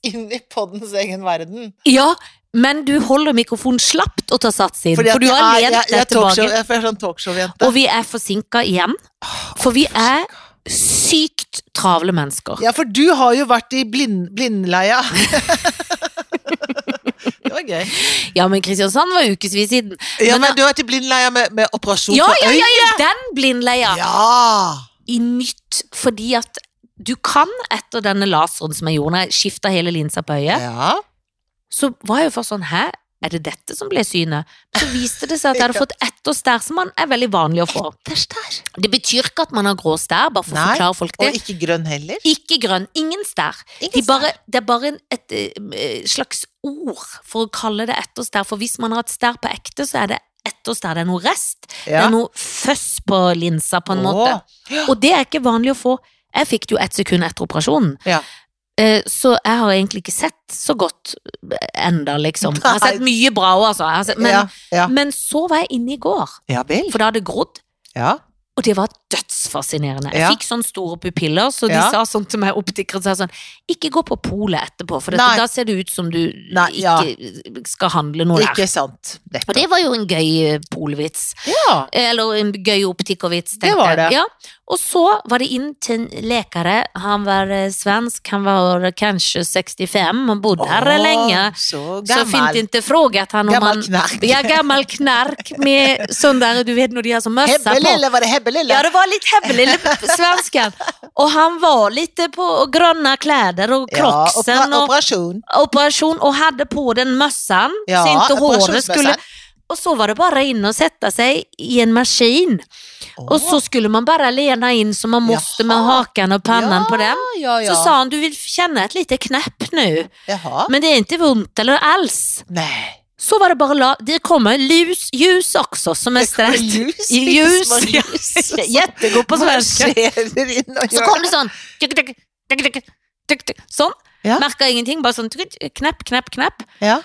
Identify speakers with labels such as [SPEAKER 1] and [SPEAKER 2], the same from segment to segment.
[SPEAKER 1] inn i poddens egen verden.
[SPEAKER 2] Ja, men du holder mikrofonen slapt og tar sats inn.
[SPEAKER 1] Fordi at
[SPEAKER 2] For du har
[SPEAKER 1] jeg, er-
[SPEAKER 2] lent
[SPEAKER 1] jeg, jeg,
[SPEAKER 2] deg
[SPEAKER 1] er talkshow,
[SPEAKER 2] tilbake.
[SPEAKER 1] jeg er sånn talkshow-jente.
[SPEAKER 2] Og vi er forsinka igjen. For vi er sykt travle mennesker.
[SPEAKER 1] Ja, for du har jo vært i blind, blindleia. det var gøy.
[SPEAKER 2] Ja, men Kristiansand var ukevis siden.
[SPEAKER 1] Ja,
[SPEAKER 2] Men
[SPEAKER 1] men du har vært i blindleia med, med operasjon
[SPEAKER 2] Ja,
[SPEAKER 1] på
[SPEAKER 2] ja, ja,
[SPEAKER 1] øyet.
[SPEAKER 2] ja, den blindleia.
[SPEAKER 1] Ja.
[SPEAKER 2] i nytt, fordi at du kan etter denne laseren som jeg gjorde, når jeg skifta hele linsa på øyet,
[SPEAKER 1] ja.
[SPEAKER 2] så var jeg jo først sånn Hæ, er det dette som ble synet? Så viste det seg at jeg hadde
[SPEAKER 1] Ja.
[SPEAKER 2] fått ett års stær, som man er veldig vanlig å få. Det betyr ikke at man har grå stær, bare for å
[SPEAKER 1] Nei,
[SPEAKER 2] forklare folk det.
[SPEAKER 1] Og ikke grønn heller.
[SPEAKER 2] Ikke grønn, ingen stær. De
[SPEAKER 1] Ingen
[SPEAKER 2] bare, det er bare en, et eh, slags ord for å kalle det etterstær, for hvis man har et stær på ekte, så er det etterstær, det er noe rest. Det
[SPEAKER 1] Ja.
[SPEAKER 2] er noe føss på linsa, på
[SPEAKER 1] Åh.
[SPEAKER 2] en måte.
[SPEAKER 1] Ja.
[SPEAKER 2] Og det er ikke vanlig å få. Jeg fikk det jo ett sekund etter operasjonen.
[SPEAKER 1] Ja.
[SPEAKER 2] Eh, Så jeg har egentlig ikke sett så godt enda, liksom. Jeg har
[SPEAKER 1] Nei.
[SPEAKER 2] sett mye bra òg, altså. Jeg har sett, men,
[SPEAKER 1] ja, ja.
[SPEAKER 2] men så var jeg inne i går,
[SPEAKER 1] ja vel.
[SPEAKER 2] for da hadde det grodd.
[SPEAKER 1] Ja.
[SPEAKER 2] Og det var dødsfascinerende. Jeg
[SPEAKER 1] Ja.
[SPEAKER 2] fikk sånne store pupiller, så de
[SPEAKER 1] Ja.
[SPEAKER 2] sa sånn til meg, optikeren sa sånn Ikke gå på polet etterpå, for dette,
[SPEAKER 1] Nei.
[SPEAKER 2] da ser det ut som du
[SPEAKER 1] Nei, ja.
[SPEAKER 2] ikke skal handle noe der.
[SPEAKER 1] Ikke sant.
[SPEAKER 2] Og
[SPEAKER 1] Nettopp.
[SPEAKER 2] det var jo en gøy eh, polvits.
[SPEAKER 1] Ja.
[SPEAKER 2] Eller en gøy optikervits, tenkte
[SPEAKER 1] Det var det.
[SPEAKER 2] jeg. Ja. Og så var det inn til en lekare. Han var eh, svensk, han var kanskje 65, han bodde her
[SPEAKER 1] Åh,
[SPEAKER 2] lenge.
[SPEAKER 1] Så
[SPEAKER 2] Så fint
[SPEAKER 1] gammel.
[SPEAKER 2] inte frågat han om
[SPEAKER 1] Gammel
[SPEAKER 2] han
[SPEAKER 1] knark.
[SPEAKER 2] Ja, gammal knark med sånn der, du vet når de har sånn møssa på.
[SPEAKER 1] Hebbelille, var det hebbelille?
[SPEAKER 2] Ja, det var litt hemmelig, lille svensken. Og han var litt på grønne klær og
[SPEAKER 1] Ja,
[SPEAKER 2] crocsen
[SPEAKER 1] opera,
[SPEAKER 2] og
[SPEAKER 1] operasjon.
[SPEAKER 2] operasjon, og hadde på den møssen,
[SPEAKER 1] Ja,
[SPEAKER 2] så ikke håret
[SPEAKER 1] operasjonsmøssan.
[SPEAKER 2] skulle Og så var det bare inn og sette seg i en maskin,
[SPEAKER 1] Åh.
[SPEAKER 2] og så skulle man bare lena inn som man måtte med
[SPEAKER 1] Jaha.
[SPEAKER 2] haken og pannen på den.
[SPEAKER 1] Ja, ja, ja.
[SPEAKER 2] Så sa han du vil kjenne et lite knepp nå,
[SPEAKER 1] Jaha.
[SPEAKER 2] men det er ikke vondt eller alls.
[SPEAKER 1] Nei.
[SPEAKER 2] Så var det bare la Det kommer lus, ljus också som är
[SPEAKER 1] Det kommer
[SPEAKER 2] stress.
[SPEAKER 1] ljus,
[SPEAKER 2] Ljus,
[SPEAKER 1] små
[SPEAKER 2] ja.
[SPEAKER 1] ljus.
[SPEAKER 2] Jättegod på
[SPEAKER 1] Hva
[SPEAKER 2] svenska.
[SPEAKER 1] skjer inn og
[SPEAKER 2] Så
[SPEAKER 1] gjør?
[SPEAKER 2] kom det sånn tuk, tuk, tuk, tuk, tuk, tuk. Sånn.
[SPEAKER 1] Ja.
[SPEAKER 2] Merka ingenting, bare sånn tuk, knepp, knepp, knepp.
[SPEAKER 1] Ja.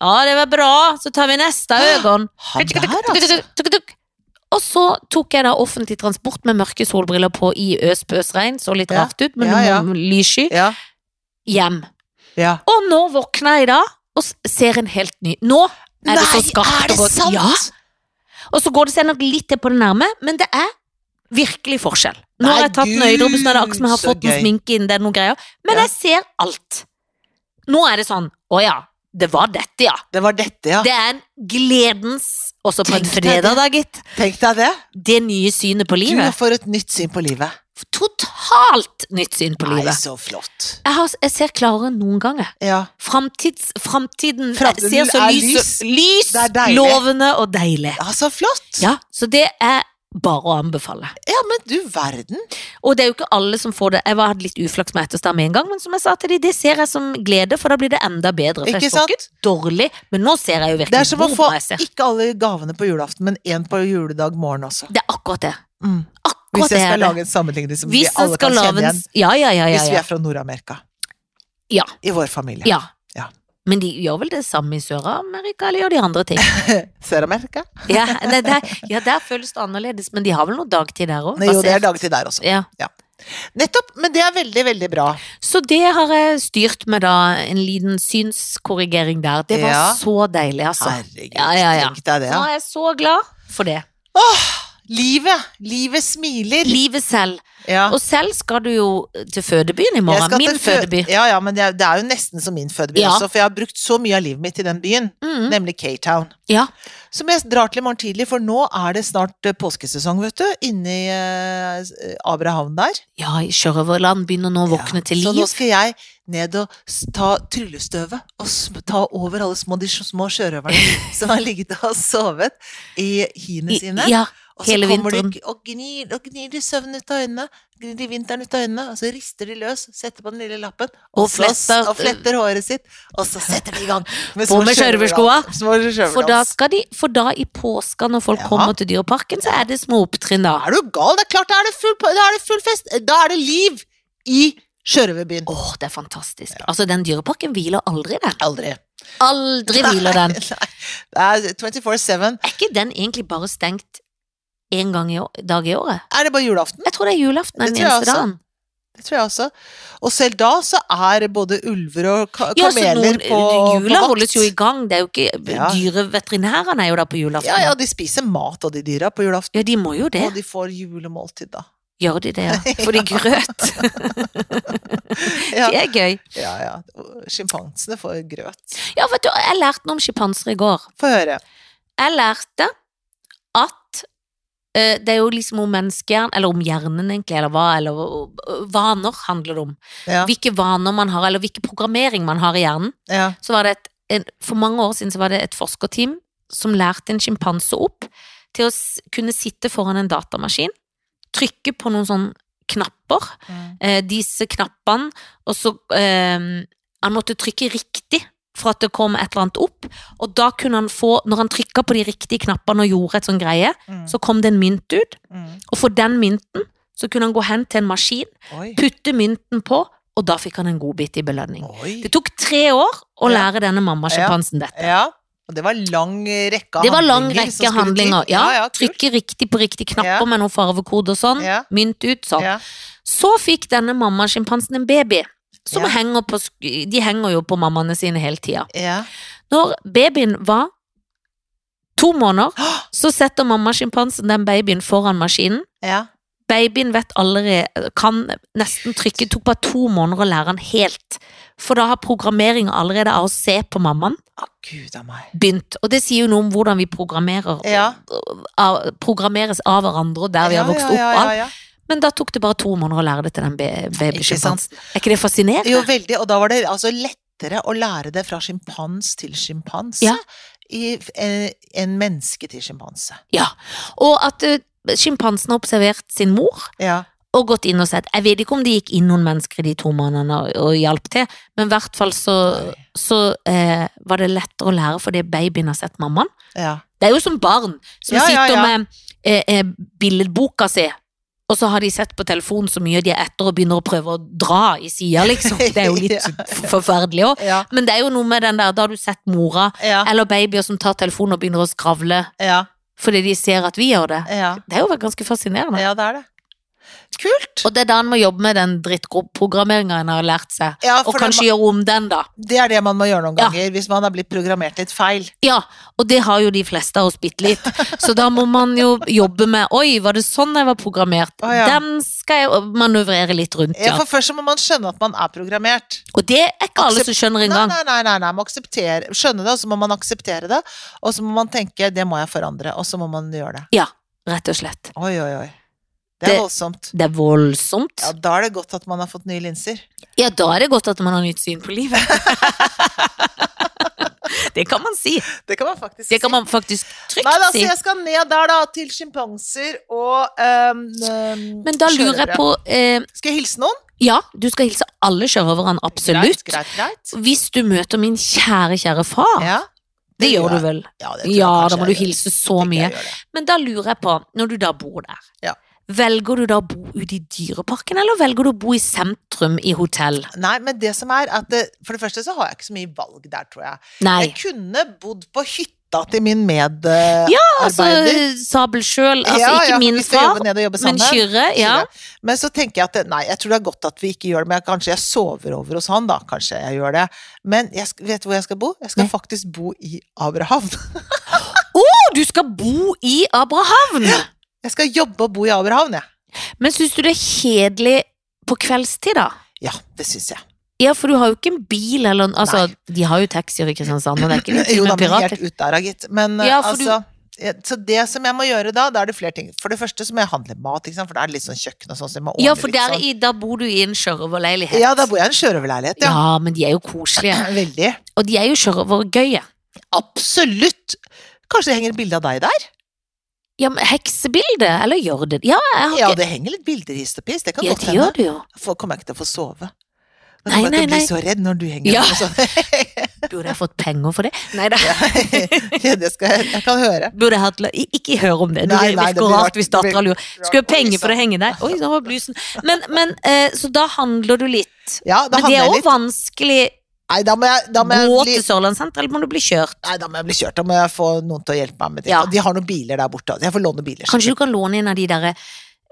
[SPEAKER 2] Ja, det var bra. Så tar vi neste øyne.
[SPEAKER 1] Han der, altså.
[SPEAKER 2] Og så tok jeg da offentlig transport med mørke solbriller på i øspøsregn. Så litt
[SPEAKER 1] Ja.
[SPEAKER 2] rart ut, men
[SPEAKER 1] Ja, ja.
[SPEAKER 2] noe lyssky.
[SPEAKER 1] Ja.
[SPEAKER 2] Hjem.
[SPEAKER 1] ja.
[SPEAKER 2] Og nå våkner jeg da og s- ser en helt ny Nå er det så skarpt og godt. Ja. Og så går det seg nok litt til på det nærme, men det er virkelig forskjell. Nå
[SPEAKER 1] Nei,
[SPEAKER 2] har jeg tatt den
[SPEAKER 1] Gud,
[SPEAKER 2] øyedråpen, så er det akkurat som jeg har
[SPEAKER 1] så
[SPEAKER 2] fått noe
[SPEAKER 1] gøy.
[SPEAKER 2] sminke inn, det er noen greier. Men
[SPEAKER 1] Ja.
[SPEAKER 2] jeg ser alt. Nå er det sånn, å ja, det var dette, ja.
[SPEAKER 1] Det var dette, ja.
[SPEAKER 2] Det er en gledens, også på en
[SPEAKER 1] Ah. Tenk deg
[SPEAKER 2] fredag da, gitt,
[SPEAKER 1] Tenk deg det.
[SPEAKER 2] det nye synet på
[SPEAKER 1] Du
[SPEAKER 2] livet.
[SPEAKER 1] får et nytt syn på livet.
[SPEAKER 2] Totalt nytt syn på
[SPEAKER 1] Nei,
[SPEAKER 2] livet.
[SPEAKER 1] så flott.
[SPEAKER 2] Jeg, har, jeg ser klarere enn noen ganger.
[SPEAKER 1] Ja.
[SPEAKER 2] Framtids, framtiden,
[SPEAKER 1] Framtiden
[SPEAKER 2] ser så
[SPEAKER 1] er
[SPEAKER 2] lys, lys,
[SPEAKER 1] Det er deilig.
[SPEAKER 2] lovende og deilig.
[SPEAKER 1] ja, så flott.
[SPEAKER 2] Ja, så det er bare å anbefale.
[SPEAKER 1] Ja, men du verden.
[SPEAKER 2] Og det er jo ikke alle som får det. Jeg var- hadde litt uflaks med etterstemme en gang, men som jeg sa til de, det ser jeg som glede, for da blir det enda bedre. For
[SPEAKER 1] Ikke
[SPEAKER 2] jeg så
[SPEAKER 1] sant?
[SPEAKER 2] ikke dårlig, men nå ser jeg jo
[SPEAKER 1] Det er
[SPEAKER 2] virkelig
[SPEAKER 1] som å
[SPEAKER 2] hvor
[SPEAKER 1] få
[SPEAKER 2] bra jeg ser.
[SPEAKER 1] ikke alle gavene på julaften, men én på juledag morgen også.
[SPEAKER 2] Det er akkurat det.
[SPEAKER 1] Mm.
[SPEAKER 2] Akkurat
[SPEAKER 1] Hvis
[SPEAKER 2] det
[SPEAKER 1] jeg
[SPEAKER 2] er
[SPEAKER 1] skal
[SPEAKER 2] det.
[SPEAKER 1] lage en sammenligning som vi
[SPEAKER 2] Hvis jeg
[SPEAKER 1] alle
[SPEAKER 2] skal
[SPEAKER 1] kan
[SPEAKER 2] lage
[SPEAKER 1] kjenne
[SPEAKER 2] en
[SPEAKER 1] igjen.
[SPEAKER 2] Ja, ja, ja. ja,
[SPEAKER 1] Hvis vi
[SPEAKER 2] ja.
[SPEAKER 1] er fra Nord-Amerika.
[SPEAKER 2] Ja.
[SPEAKER 1] I vår familie.
[SPEAKER 2] ja.
[SPEAKER 1] Ja.
[SPEAKER 2] Men de gjør vel det samme i Sør-Amerika, eller gjør de andre ting?
[SPEAKER 1] Sør-Amerika?
[SPEAKER 2] Ja, det, det, ja, der føles det annerledes, men de har vel noe dagtid der òg?
[SPEAKER 1] Nei, Jo, det er dagtid der også.
[SPEAKER 2] Ja.
[SPEAKER 1] Nettopp, men det er veldig, veldig bra.
[SPEAKER 2] Så det har jeg styrt med, da. En liten synskorrigering der. Det var
[SPEAKER 1] Ja.
[SPEAKER 2] så deilig, altså.
[SPEAKER 1] Herregud,
[SPEAKER 2] Ja, ja, ja.
[SPEAKER 1] tenk deg det. Ja.
[SPEAKER 2] Nå er jeg så glad for det.
[SPEAKER 1] Livet! Livet smiler.
[SPEAKER 2] Livet selv.
[SPEAKER 1] Ja.
[SPEAKER 2] Og selv skal du jo til fødebyen i
[SPEAKER 1] Jeg
[SPEAKER 2] morgen.
[SPEAKER 1] skal
[SPEAKER 2] Min
[SPEAKER 1] til fø-
[SPEAKER 2] fødeby.
[SPEAKER 1] Ja, ja, men det er, det er jo nesten som min fødeby
[SPEAKER 2] Ja.
[SPEAKER 1] også, for jeg har brukt så mye av livet mitt i den byen,
[SPEAKER 2] Mm.
[SPEAKER 1] nemlig K-Town.
[SPEAKER 2] Ja.
[SPEAKER 1] Som jeg drar til i morgen tidlig, for nå er det snart eh, påskesesong, vet du, inne i eh, Abrahavn der.
[SPEAKER 2] ja, i Sjørøverland begynner nå å våkne
[SPEAKER 1] Ja,
[SPEAKER 2] til
[SPEAKER 1] Så nå
[SPEAKER 2] liv.
[SPEAKER 1] skal jeg ned og s- ta tryllestøvet og sm- ta over alle små, de små sjørøverne som har ligget og sovet i hiene
[SPEAKER 2] I,
[SPEAKER 1] sine.
[SPEAKER 2] ja,
[SPEAKER 1] og så
[SPEAKER 2] hele
[SPEAKER 1] kommer de
[SPEAKER 2] vinteren.
[SPEAKER 1] k- og gnir, og gnir de søvnen ut av øynene, gnir de vinteren ut av øynene, og så rister de løs, setter på den lille lappen, og,
[SPEAKER 2] Og
[SPEAKER 1] så s-
[SPEAKER 2] fletter-
[SPEAKER 1] og fletter håret sitt, og så setter de i gang
[SPEAKER 2] På med sjørøverskoa.
[SPEAKER 1] sjørøverdans- små sjørøverdans.
[SPEAKER 2] for, da skal de, for da i påska, når folk
[SPEAKER 1] Ja.
[SPEAKER 2] kommer til Dyreparken, så er det små opptrinn da.
[SPEAKER 1] Er du gal? Det er klart, da er det full, på- da er det full fest! Da er det liv i sjørøverbyen.
[SPEAKER 2] Åh, det er fantastisk. Altså, den Dyreparken hviler aldri, den.
[SPEAKER 1] Aldri.
[SPEAKER 2] Aldri hviler den.
[SPEAKER 1] Nei, det er 24-7.
[SPEAKER 2] Er ikke den egentlig bare stengt én gang i å- dag i året?
[SPEAKER 1] Er det bare julaften?
[SPEAKER 2] Jeg tror det er julaften
[SPEAKER 1] Det
[SPEAKER 2] den
[SPEAKER 1] tror jeg
[SPEAKER 2] eneste
[SPEAKER 1] også.
[SPEAKER 2] dagen.
[SPEAKER 1] Det tror jeg også. Og selv da så er både ulver og ka
[SPEAKER 2] Ja, så
[SPEAKER 1] kameler
[SPEAKER 2] noen,
[SPEAKER 1] på, på
[SPEAKER 2] jula
[SPEAKER 1] vakt.
[SPEAKER 2] holdes jo i gang. Det er jo ikke
[SPEAKER 1] Ja.
[SPEAKER 2] Dyreveterinærene er jo der på julaften.
[SPEAKER 1] Ja, ja, de spiser mat av de dyra på julaften.
[SPEAKER 2] Ja, de må jo det.
[SPEAKER 1] Og de får julemåltid, da.
[SPEAKER 2] Gjør de det, ja. For de grøt.
[SPEAKER 1] Ja,
[SPEAKER 2] Det er gøy.
[SPEAKER 1] ja. ja. Og Sjimpansene får grøt.
[SPEAKER 2] Ja, vet du, jeg lærte noe om sjimpanser i går.
[SPEAKER 1] Få høre.
[SPEAKER 2] Jeg lærte at eh, det er jo liksom om menneskehjernen, eller om hjernen egentlig, eller hva, eller eh, vaner handler det om.
[SPEAKER 1] Ja,
[SPEAKER 2] Hvilke vaner man har, eller hvilken programmering man har i hjernen.
[SPEAKER 1] ja.
[SPEAKER 2] Så var det et, en, for mange år siden så var det et forskerteam som lærte en sjimpanse opp til å s kunne sitte foran en datamaskin, trykke på noen sånne knapper,
[SPEAKER 1] Mm.
[SPEAKER 2] eh, disse knappene, og så eh, Han måtte trykke riktig for at det kom et eller annet opp, og da kunne han få Når han trykka på de riktige knappene og gjorde et sånn greie,
[SPEAKER 1] Mm.
[SPEAKER 2] så kom det en mynt ut,
[SPEAKER 1] Mm.
[SPEAKER 2] og for den mynten så kunne han gå hen til en maskin,
[SPEAKER 1] Oi.
[SPEAKER 2] putte mynten på, og da fikk han en godbit i belønning.
[SPEAKER 1] Oi.
[SPEAKER 2] Det tok tre år å
[SPEAKER 1] Ja.
[SPEAKER 2] lære denne mammasjimpansen dette.
[SPEAKER 1] Ja. Og det var lang rekke
[SPEAKER 2] Det var lang
[SPEAKER 1] handlinger som
[SPEAKER 2] rekke
[SPEAKER 1] skulle
[SPEAKER 2] handlinger.
[SPEAKER 1] til.
[SPEAKER 2] Ja,
[SPEAKER 1] kult.
[SPEAKER 2] trykke riktig på riktig knapper
[SPEAKER 1] Ja.
[SPEAKER 2] med noen farvekode og sånn.
[SPEAKER 1] Ja.
[SPEAKER 2] Mynt ut sånn.
[SPEAKER 1] Ja.
[SPEAKER 2] Så fikk denne mammasjimpansen en baby. Som
[SPEAKER 1] Ja.
[SPEAKER 2] henger på, sk- de henger jo på mammaene sine hele tida.
[SPEAKER 1] Ja.
[SPEAKER 2] Når babyen var to måneder,
[SPEAKER 1] Hå!
[SPEAKER 2] så setter mammasjimpansen den babyen foran maskinen.
[SPEAKER 1] ja.
[SPEAKER 2] Babyen vet allerede, kan nesten trykke, tok bare to måneder å lære han helt. For da har programmeringa allerede av å se på mammaen
[SPEAKER 1] Å, Ah, gud a meg.
[SPEAKER 2] begynt. Og det sier jo noe om hvordan vi programmerer,
[SPEAKER 1] Ja.
[SPEAKER 2] av, programmeres av hverandre, og der vi har vokst opp.
[SPEAKER 1] ja,
[SPEAKER 2] og
[SPEAKER 1] ja,
[SPEAKER 2] alt.
[SPEAKER 1] ja,
[SPEAKER 2] Men da tok det bare to måneder å lære det til den be-
[SPEAKER 1] Ikke sant?
[SPEAKER 2] babysjimpansen. Er ikke det fascinerende?
[SPEAKER 1] Jo, veldig. Og da var det altså lettere å lære det fra sjimpans til sjimpanse
[SPEAKER 2] Ja.
[SPEAKER 1] i- eh, enn menneske til sjimpanse.
[SPEAKER 2] Og at eh, sjimpansen har observert sin mor
[SPEAKER 1] Ja.
[SPEAKER 2] og gått inn og sett. Jeg vet ikke om det gikk inn noen mennesker i de to månedene og, og hjalp til, men i hvert fall så,
[SPEAKER 1] Nei.
[SPEAKER 2] så eh, var det lettere å lære fordi babyen har sett mammaen.
[SPEAKER 1] Ja.
[SPEAKER 2] Det er jo som barn som
[SPEAKER 1] Ja, ja,
[SPEAKER 2] sitter
[SPEAKER 1] ja.
[SPEAKER 2] med eh, eh, billedboka si, og så har de sett på telefonen så mye de er etter og begynner å prøve å dra i sida, liksom. Det er jo litt f- forferdelig òg.
[SPEAKER 1] Ja.
[SPEAKER 2] Men det er jo noe med den der, da har du sett mora
[SPEAKER 1] Ja.
[SPEAKER 2] eller babyer som tar telefonen og begynner å skravle
[SPEAKER 1] Ja.
[SPEAKER 2] fordi de ser at vi gjør det.
[SPEAKER 1] Ja.
[SPEAKER 2] Det er jo ganske fascinerende.
[SPEAKER 1] ja, det er det. Kult!
[SPEAKER 2] Og det er da en må jobbe med den drittprogrammeringa en har lært seg,
[SPEAKER 1] Ja, for
[SPEAKER 2] og
[SPEAKER 1] det,
[SPEAKER 2] kanskje gjøre om den, da.
[SPEAKER 1] det er det man må gjøre noen
[SPEAKER 2] Ja.
[SPEAKER 1] ganger hvis man har blitt programmert litt feil.
[SPEAKER 2] Ja, og det har jo de fleste av oss bitte litt. Så da må man jo jobbe med Oi, var det sånn jeg var programmert?
[SPEAKER 1] Å, ja.
[SPEAKER 2] Den skal jeg manøvrere litt rundt,
[SPEAKER 1] Ja,
[SPEAKER 2] ja.
[SPEAKER 1] Eh, for først så må man skjønne at man er programmert.
[SPEAKER 2] Og det er ikke alle som
[SPEAKER 1] Nei,
[SPEAKER 2] skjønner engang.
[SPEAKER 1] nei, nei, nei, nei. Man må akseptere, skjønne det, og så må man akseptere det. Og så må man tenke 'det må jeg forandre', og så må man gjøre det.
[SPEAKER 2] Ja, rett og slett.
[SPEAKER 1] Oi, oi, oi. Det er
[SPEAKER 2] Det-
[SPEAKER 1] voldsomt.
[SPEAKER 2] Det er voldsomt.
[SPEAKER 1] Ja, da er det godt at man har fått nye linser.
[SPEAKER 2] Ja, da er det godt at man har nytt syn på livet. det kan man si.
[SPEAKER 1] Det kan man faktisk
[SPEAKER 2] Det kan
[SPEAKER 1] si.
[SPEAKER 2] man faktisk
[SPEAKER 1] Nei, da,
[SPEAKER 2] trygt
[SPEAKER 1] så
[SPEAKER 2] si.
[SPEAKER 1] jeg skal ned der, da, til sjimpanser og øhm, øhm,
[SPEAKER 2] Men da lurer jeg
[SPEAKER 1] sjørøvere.
[SPEAKER 2] på eh,
[SPEAKER 1] Skal jeg hilse noen?
[SPEAKER 2] Ja, du skal hilse alle sjørøverne, absolutt.
[SPEAKER 1] Greit, greit, greit.
[SPEAKER 2] Hvis du møter min kjære, kjære far.
[SPEAKER 1] Ja,
[SPEAKER 2] det, gjør du
[SPEAKER 1] jeg.
[SPEAKER 2] vel?
[SPEAKER 1] Ja, det tror jeg
[SPEAKER 2] Ja,
[SPEAKER 1] kanskje
[SPEAKER 2] da må du
[SPEAKER 1] jeg gjør.
[SPEAKER 2] hilse så
[SPEAKER 1] Tenker
[SPEAKER 2] mye.
[SPEAKER 1] jeg gjør det.
[SPEAKER 2] Men da lurer jeg på, når du da bor der,
[SPEAKER 1] Ja.
[SPEAKER 2] velger du da å bo ute i dyreparken, eller velger du å bo i sentrum i hotell?
[SPEAKER 1] Nei, men det som er at det, For det første så har jeg ikke så mye valg der, tror jeg.
[SPEAKER 2] Nei.
[SPEAKER 1] Jeg kunne bodd på hytta til min medarbeider.
[SPEAKER 2] Ja, Altså, Sabel sjøl, altså
[SPEAKER 1] Ja,
[SPEAKER 2] ikke
[SPEAKER 1] ja,
[SPEAKER 2] min
[SPEAKER 1] vi skal
[SPEAKER 2] far,
[SPEAKER 1] jobbe ned og jobbe
[SPEAKER 2] men
[SPEAKER 1] sammen.
[SPEAKER 2] Kyrre, ja.
[SPEAKER 1] Men så tenker jeg at det- nei, jeg tror det er godt at vi ikke gjør det, men jeg, kanskje jeg sover over hos han, da. Kanskje jeg gjør det. Men jeg, sk- vet du hvor jeg skal bo? Jeg skal
[SPEAKER 2] Nei.
[SPEAKER 1] faktisk bo i Abrahavn.
[SPEAKER 2] Å, du skal bo i Abrahavn!
[SPEAKER 1] Jeg skal jobbe og bo i Abrahavn, jeg.
[SPEAKER 2] Men syns du det er kjedelig på kveldstid, da?
[SPEAKER 1] Ja. det syns jeg.
[SPEAKER 2] Ja, for du har jo ikke en bil eller en Altså, de har jo taxier i Kristiansand, og det er ikke
[SPEAKER 1] Jo
[SPEAKER 2] liksom
[SPEAKER 1] da, men
[SPEAKER 2] en pirat.
[SPEAKER 1] helt ut der, da, gitt. Men eh,
[SPEAKER 2] Ja, for du-
[SPEAKER 1] altså jeg- så det som jeg må gjøre da, da er det flere ting. For det første så må jeg handle mat, ikke sant? for da er det litt sånn kjøkken og sånn. Så jeg må ordne
[SPEAKER 2] Ja, for
[SPEAKER 1] litt
[SPEAKER 2] der
[SPEAKER 1] sånn.
[SPEAKER 2] i, da bor du i en sjørøverleilighet.
[SPEAKER 1] Ja, da bor jeg i en sjørøverleilighet, ja.
[SPEAKER 2] Ja, men de er jo koselige.
[SPEAKER 1] Veldig.
[SPEAKER 2] Og de er jo sjørøvergøye.
[SPEAKER 1] Absolutt! Kanskje det henger et bilde av deg der?
[SPEAKER 2] Ja, men heksebilde, eller gjør det Ja, jeg har ikke
[SPEAKER 1] Ja, det henger litt bilder hist og pist. Det kan
[SPEAKER 2] Ja,
[SPEAKER 1] godt
[SPEAKER 2] det
[SPEAKER 1] hende.
[SPEAKER 2] gjør det jo.
[SPEAKER 1] For kommer jeg ikke til å få sove. Nå
[SPEAKER 2] Nei,
[SPEAKER 1] kommer jeg til å
[SPEAKER 2] nei,
[SPEAKER 1] bli
[SPEAKER 2] nei.
[SPEAKER 1] så redd når du henger
[SPEAKER 2] Ja.
[SPEAKER 1] opp og sånn.
[SPEAKER 2] Burde jeg fått penger for det? Nei da.
[SPEAKER 1] ja, det skal jeg, jeg kan høre.
[SPEAKER 2] Burde jeg hatt la- Ik- Ikke hør om det. Du,
[SPEAKER 1] Nei, nei,
[SPEAKER 2] det
[SPEAKER 1] det
[SPEAKER 2] virker
[SPEAKER 1] blir
[SPEAKER 2] rart
[SPEAKER 1] rart.
[SPEAKER 2] hvis
[SPEAKER 1] Det
[SPEAKER 2] dattera
[SPEAKER 1] blir
[SPEAKER 2] lurer. Skulle ha penger for å henge der. Oi, nå var blusen. Men, men eh, så da handler du litt.
[SPEAKER 1] Ja, da
[SPEAKER 2] Men det
[SPEAKER 1] handler
[SPEAKER 2] er
[SPEAKER 1] jeg
[SPEAKER 2] òg
[SPEAKER 1] litt.
[SPEAKER 2] vanskelig.
[SPEAKER 1] Nei, da må jeg, da må jeg
[SPEAKER 2] Gå
[SPEAKER 1] bli
[SPEAKER 2] til Sørlandssenteret, eller må du bli kjørt?
[SPEAKER 1] Nei, da må jeg bli kjørt. Da må jeg få noen til å hjelpe meg med ting.
[SPEAKER 2] Ja.
[SPEAKER 1] Og De har noen biler der borte. altså. Jeg får låne biler.
[SPEAKER 2] Kanskje du kan låne en av de derre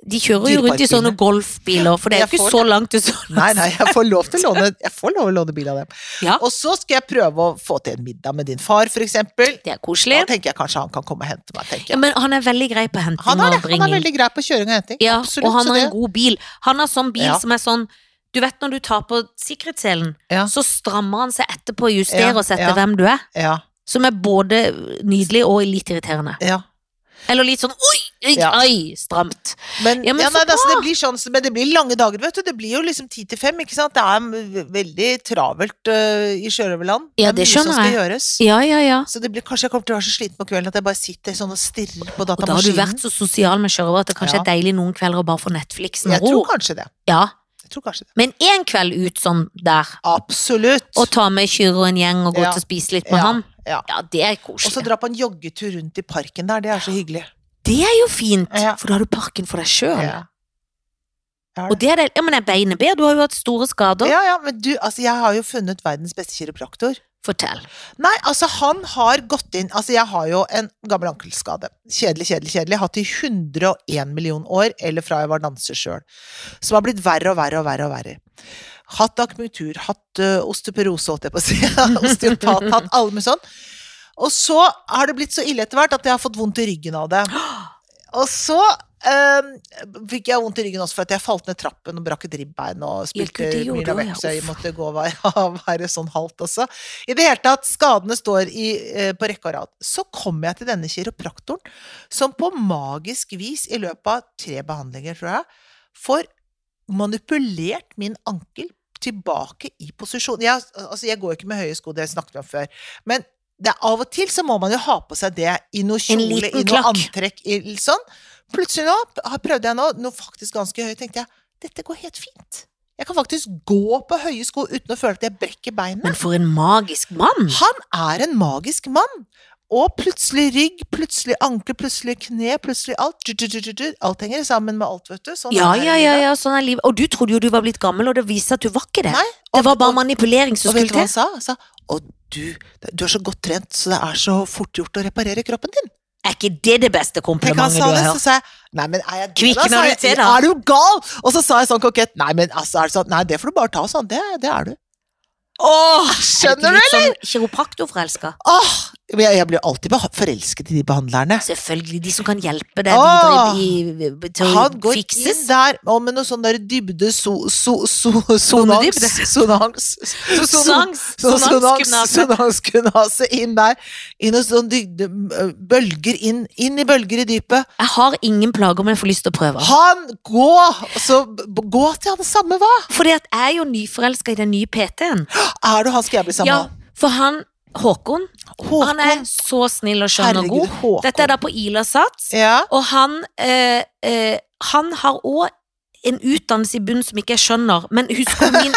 [SPEAKER 2] De kjører jo rundt i sånne
[SPEAKER 1] Dyreparkbiler.
[SPEAKER 2] golfbiler, for det er jo
[SPEAKER 1] Jeg
[SPEAKER 2] ikke
[SPEAKER 1] får
[SPEAKER 2] så langt til sånn.
[SPEAKER 1] Nei, nei, jeg får lov til å låne, jeg får lov å låne bil av dem.
[SPEAKER 2] Ja.
[SPEAKER 1] Og så skal jeg prøve å få til en middag med din far, for eksempel.
[SPEAKER 2] Det
[SPEAKER 1] Da
[SPEAKER 2] er koselig.
[SPEAKER 1] tenker jeg kanskje han kan komme og hente meg, tenker
[SPEAKER 2] Ja,
[SPEAKER 1] jeg.
[SPEAKER 2] men han er veldig grei på henting
[SPEAKER 1] Han er, det. han
[SPEAKER 2] og
[SPEAKER 1] er
[SPEAKER 2] bringing.
[SPEAKER 1] veldig grei på kjøring og henting.
[SPEAKER 2] Ja,
[SPEAKER 1] Absolutt.
[SPEAKER 2] og han
[SPEAKER 1] så
[SPEAKER 2] har en
[SPEAKER 1] det-
[SPEAKER 2] god bil. Han har sånn bil
[SPEAKER 1] Ja.
[SPEAKER 2] som er sånn Du vet når du tar på sikkerhetsselen,
[SPEAKER 1] Ja.
[SPEAKER 2] så strammer han seg etterpå og justerer
[SPEAKER 1] Ja,
[SPEAKER 2] oss etter
[SPEAKER 1] ja.
[SPEAKER 2] hvem du er.
[SPEAKER 1] Ja,
[SPEAKER 2] Som er både nydelig og litt irriterende.
[SPEAKER 1] ja.
[SPEAKER 2] Eller litt sånn oi, oi,
[SPEAKER 1] Ja.
[SPEAKER 2] oi, stramt.
[SPEAKER 1] Men,
[SPEAKER 2] Ja,
[SPEAKER 1] ja,
[SPEAKER 2] men
[SPEAKER 1] nei,
[SPEAKER 2] så
[SPEAKER 1] det, altså, det blir sånn, men det blir lange dager, vet du. Det blir jo liksom ti til fem, ikke sant. Det er mm, veldig travelt øh, i sjørøverland.
[SPEAKER 2] Ja, det
[SPEAKER 1] er mye som
[SPEAKER 2] skjønner
[SPEAKER 1] skal
[SPEAKER 2] jeg.
[SPEAKER 1] gjøres.
[SPEAKER 2] Ja, ja, ja.
[SPEAKER 1] Så det blir, kanskje jeg kommer til å være så sliten på kvelden at jeg bare sitter sånn og stirrer på
[SPEAKER 2] Og da har du
[SPEAKER 1] datamaskinen.
[SPEAKER 2] vært så sosial med sjørøver at det kanskje
[SPEAKER 1] Ja.
[SPEAKER 2] er deilig noen kvelder å bare få Netflixen
[SPEAKER 1] Jeg
[SPEAKER 2] og ro.
[SPEAKER 1] tror kanskje det.
[SPEAKER 2] Ja.
[SPEAKER 1] Jeg tror kanskje det.
[SPEAKER 2] Men én kveld ut sånn der,
[SPEAKER 1] Absolutt.
[SPEAKER 2] og ta med Kyrre og en gjeng og gå
[SPEAKER 1] Ja.
[SPEAKER 2] ut og spise litt med
[SPEAKER 1] Ja,
[SPEAKER 2] han,
[SPEAKER 1] ja.
[SPEAKER 2] ja, det er
[SPEAKER 1] Og så
[SPEAKER 2] koselig.
[SPEAKER 1] dra på en joggetur rundt i parken der, det er så hyggelig.
[SPEAKER 2] Det er jo fint,
[SPEAKER 1] Ja.
[SPEAKER 2] for da har du parken for deg sjøl.
[SPEAKER 1] Ja. Ja,
[SPEAKER 2] Og det er det, ja, men er beinet bedre? Du har jo hatt store skader.
[SPEAKER 1] ja, ja, men du, altså jeg har jo funnet verdens beste kiropraktor.
[SPEAKER 2] Fortell.
[SPEAKER 1] Nei, altså han har gått inn Altså jeg har jo en gammel ankelskade. Kjedelig, kjedelig, kjedelig. Hatt i 101 million år, eller fra jeg var danser sjøl. Som har blitt verre og verre og verre og verre. Hatt akupunktur, hatt ø, osteoporose, holdt jeg på å si. Osteopat, hatt alle med sånn. Og så har det blitt så ille etter hvert at jeg har fått vondt i ryggen av det. Og så øhm, fikk jeg vondt i ryggen også for at jeg falt ned trappen og brakk et ribbein og
[SPEAKER 2] Ja, gud,
[SPEAKER 1] spilte
[SPEAKER 2] det gjorde
[SPEAKER 1] mye
[SPEAKER 2] du, ja.
[SPEAKER 1] vekk, så jeg
[SPEAKER 2] Uff.
[SPEAKER 1] måtte gå og være, være sånn halvt også. I det hele tatt, skadene står i, eh, på rekke og rad. Så kom jeg til denne kiropraktoren, som på magisk vis i løpet av tre behandlinger, tror jeg, får manipulert min ankel tilbake i posisjon. Jeg, altså, jeg går jo ikke med høye sko, det snakket vi om før. Men det er av og til så må man jo ha på seg det i noe
[SPEAKER 2] En
[SPEAKER 1] kjole, i
[SPEAKER 2] liten
[SPEAKER 1] noe
[SPEAKER 2] klakk.
[SPEAKER 1] antrekk, i litt sånn. Plutselig nå har- prøvde jeg nå, noe faktisk ganske høyt, tenkte jeg, dette går helt fint. Jeg kan faktisk gå på høye sko uten å føle at jeg brekker beinet.
[SPEAKER 2] Men for en magisk mann!
[SPEAKER 1] Han er en magisk mann. Og plutselig rygg, plutselig ankel, plutselig kne, plutselig alt. Du, du, du, du, du. Alt henger sammen med alt, vet du. Sånn
[SPEAKER 2] Ja,
[SPEAKER 1] er
[SPEAKER 2] ja, ja,
[SPEAKER 1] livet.
[SPEAKER 2] ja, sånn er livet. Og du trodde jo du var blitt gammel, og det viser at du var ikke det.
[SPEAKER 1] Nei,
[SPEAKER 2] Det var bare
[SPEAKER 1] og-
[SPEAKER 2] manipulering som
[SPEAKER 1] Og vet du hva
[SPEAKER 2] skulle
[SPEAKER 1] han
[SPEAKER 2] til.
[SPEAKER 1] sa? Han sa å du, du er så godt trent, så det er så fort gjort å reparere kroppen din.
[SPEAKER 2] Er ikke det det beste
[SPEAKER 1] Tenk han
[SPEAKER 2] komplimentet du
[SPEAKER 1] sa det,
[SPEAKER 2] har
[SPEAKER 1] så
[SPEAKER 2] hørt?
[SPEAKER 1] sa jeg nei, men er jeg
[SPEAKER 2] Kvikner
[SPEAKER 1] sa
[SPEAKER 2] du
[SPEAKER 1] jeg,
[SPEAKER 2] til, da?
[SPEAKER 1] Er du gal? Og så sa jeg sånn kokett nei, men altså, er det sånn, nei, det får du bare ta sånn. Det, det er du.
[SPEAKER 2] Åh,
[SPEAKER 1] Skjønner du?
[SPEAKER 2] eller? Sånn kiropraktorforelska.
[SPEAKER 1] Åh, men jeg, jeg blir alltid beha- forelsket i de behandlerne.
[SPEAKER 2] Selvfølgelig. De som kan hjelpe deg
[SPEAKER 1] Åh.
[SPEAKER 2] videre i, i, til å
[SPEAKER 1] Han går
[SPEAKER 2] fikses.
[SPEAKER 1] inn der og med noe sånn der dybde so, so, so, sonans
[SPEAKER 2] Sonedybde.
[SPEAKER 1] Sonans so-
[SPEAKER 2] Sonans-
[SPEAKER 1] so-
[SPEAKER 2] sonans
[SPEAKER 1] sonans-
[SPEAKER 2] gymnase.
[SPEAKER 1] Sonanskunase inn der. Inn og sånn dybde øh, Bølger inn. Inn i bølger i dypet.
[SPEAKER 2] Jeg har ingen plager, men jeg får lyst til å prøve.
[SPEAKER 1] Han gå! Og så b- gå til han samme, hva?
[SPEAKER 2] Fordi at jeg er jo nyforelska i den nye PT-en.
[SPEAKER 1] Er du han skal jeg bli sammen
[SPEAKER 2] Ja,
[SPEAKER 1] med?
[SPEAKER 2] for han Håkon,
[SPEAKER 1] Håkon.
[SPEAKER 2] han er så snill og skjønn og
[SPEAKER 1] Herregud,
[SPEAKER 2] god.
[SPEAKER 1] Håkon.
[SPEAKER 2] Dette er da på Ila Sats,
[SPEAKER 1] Ja.
[SPEAKER 2] og han eh, eh, Han har òg en utdannelse i bunnen som ikke jeg skjønner, men husker du min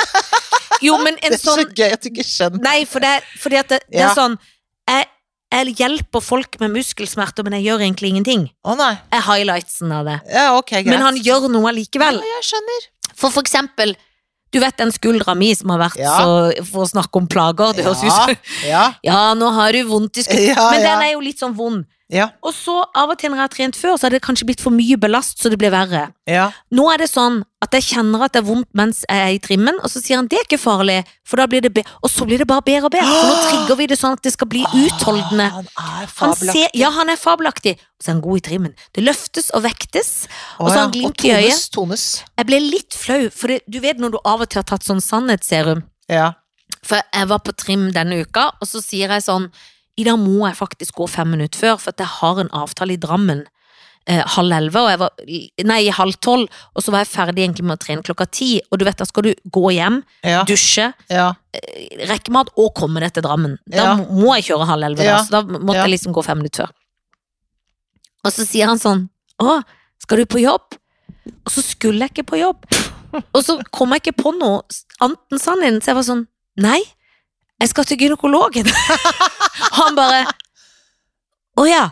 [SPEAKER 2] Jo, men en
[SPEAKER 1] Det er så
[SPEAKER 2] sånn
[SPEAKER 1] gøy at du ikke skjønner.
[SPEAKER 2] Nei, for det, fordi at det, det
[SPEAKER 1] Ja.
[SPEAKER 2] er sånn jeg, jeg hjelper folk med muskelsmerter, men jeg gjør egentlig ingenting.
[SPEAKER 1] Å nei.
[SPEAKER 2] Jeg er highlightsen av det.
[SPEAKER 1] Ja, ok, greit.
[SPEAKER 2] Men han gjør noe allikevel.
[SPEAKER 1] Ja, jeg skjønner.
[SPEAKER 2] For for eksempel, du vet den skuldra mi som har vært
[SPEAKER 1] Ja.
[SPEAKER 2] så For å snakke om plager, det høres ut
[SPEAKER 1] ja.
[SPEAKER 2] som
[SPEAKER 1] Ja.
[SPEAKER 2] Ja, nå har du vondt i skuldra.
[SPEAKER 1] Ja,
[SPEAKER 2] Men
[SPEAKER 1] ja.
[SPEAKER 2] den er jo litt sånn vond.
[SPEAKER 1] Ja.
[SPEAKER 2] Og så av og til når jeg har trent før, så har det kanskje blitt for mye belast, så det blir verre.
[SPEAKER 1] ja.
[SPEAKER 2] Nå er det sånn at jeg kjenner at det er vondt mens jeg er i trimmen, og så sier han det er ikke farlig, for da blir det bedre. Og så blir det bare bedre og bedre, for nå trigger vi det sånn at det skal bli utholdende.
[SPEAKER 1] Ah, Han er
[SPEAKER 2] Han
[SPEAKER 1] fabelaktig.
[SPEAKER 2] ser, ja, han er fabelaktig, og så er han god i trimmen. Det løftes og vektes.
[SPEAKER 1] Å,
[SPEAKER 2] Og så har
[SPEAKER 1] ja.
[SPEAKER 2] han glimt i øyet.
[SPEAKER 1] Tones.
[SPEAKER 2] Jeg ble litt flau, for det, du vet når du av og til har tatt sånn sannhetsserum.
[SPEAKER 1] Ja.
[SPEAKER 2] For jeg var på trim denne uka, og så sier jeg sånn I dag må jeg faktisk gå fem minutter før, for at jeg har en avtale i Drammen eh, halv elleve, og jeg var Nei, halv tolv, og så var jeg ferdig egentlig med å trene klokka ti. Og du vet, da skal du gå hjem,
[SPEAKER 1] Ja.
[SPEAKER 2] dusje,
[SPEAKER 1] ja.
[SPEAKER 2] eh, rekke mat og komme deg til Drammen. Da
[SPEAKER 1] Ja.
[SPEAKER 2] må- må jeg kjøre halv elleve, da,
[SPEAKER 1] Ja.
[SPEAKER 2] så da måtte
[SPEAKER 1] Ja.
[SPEAKER 2] jeg liksom gå fem minutter før. Og så sier han sånn Å, skal du på jobb? Og så skulle jeg ikke på jobb. Og så kom jeg ikke på noe annet enn sannheten, så jeg var sånn Nei, jeg skal til gynekologen. han bare Å ja.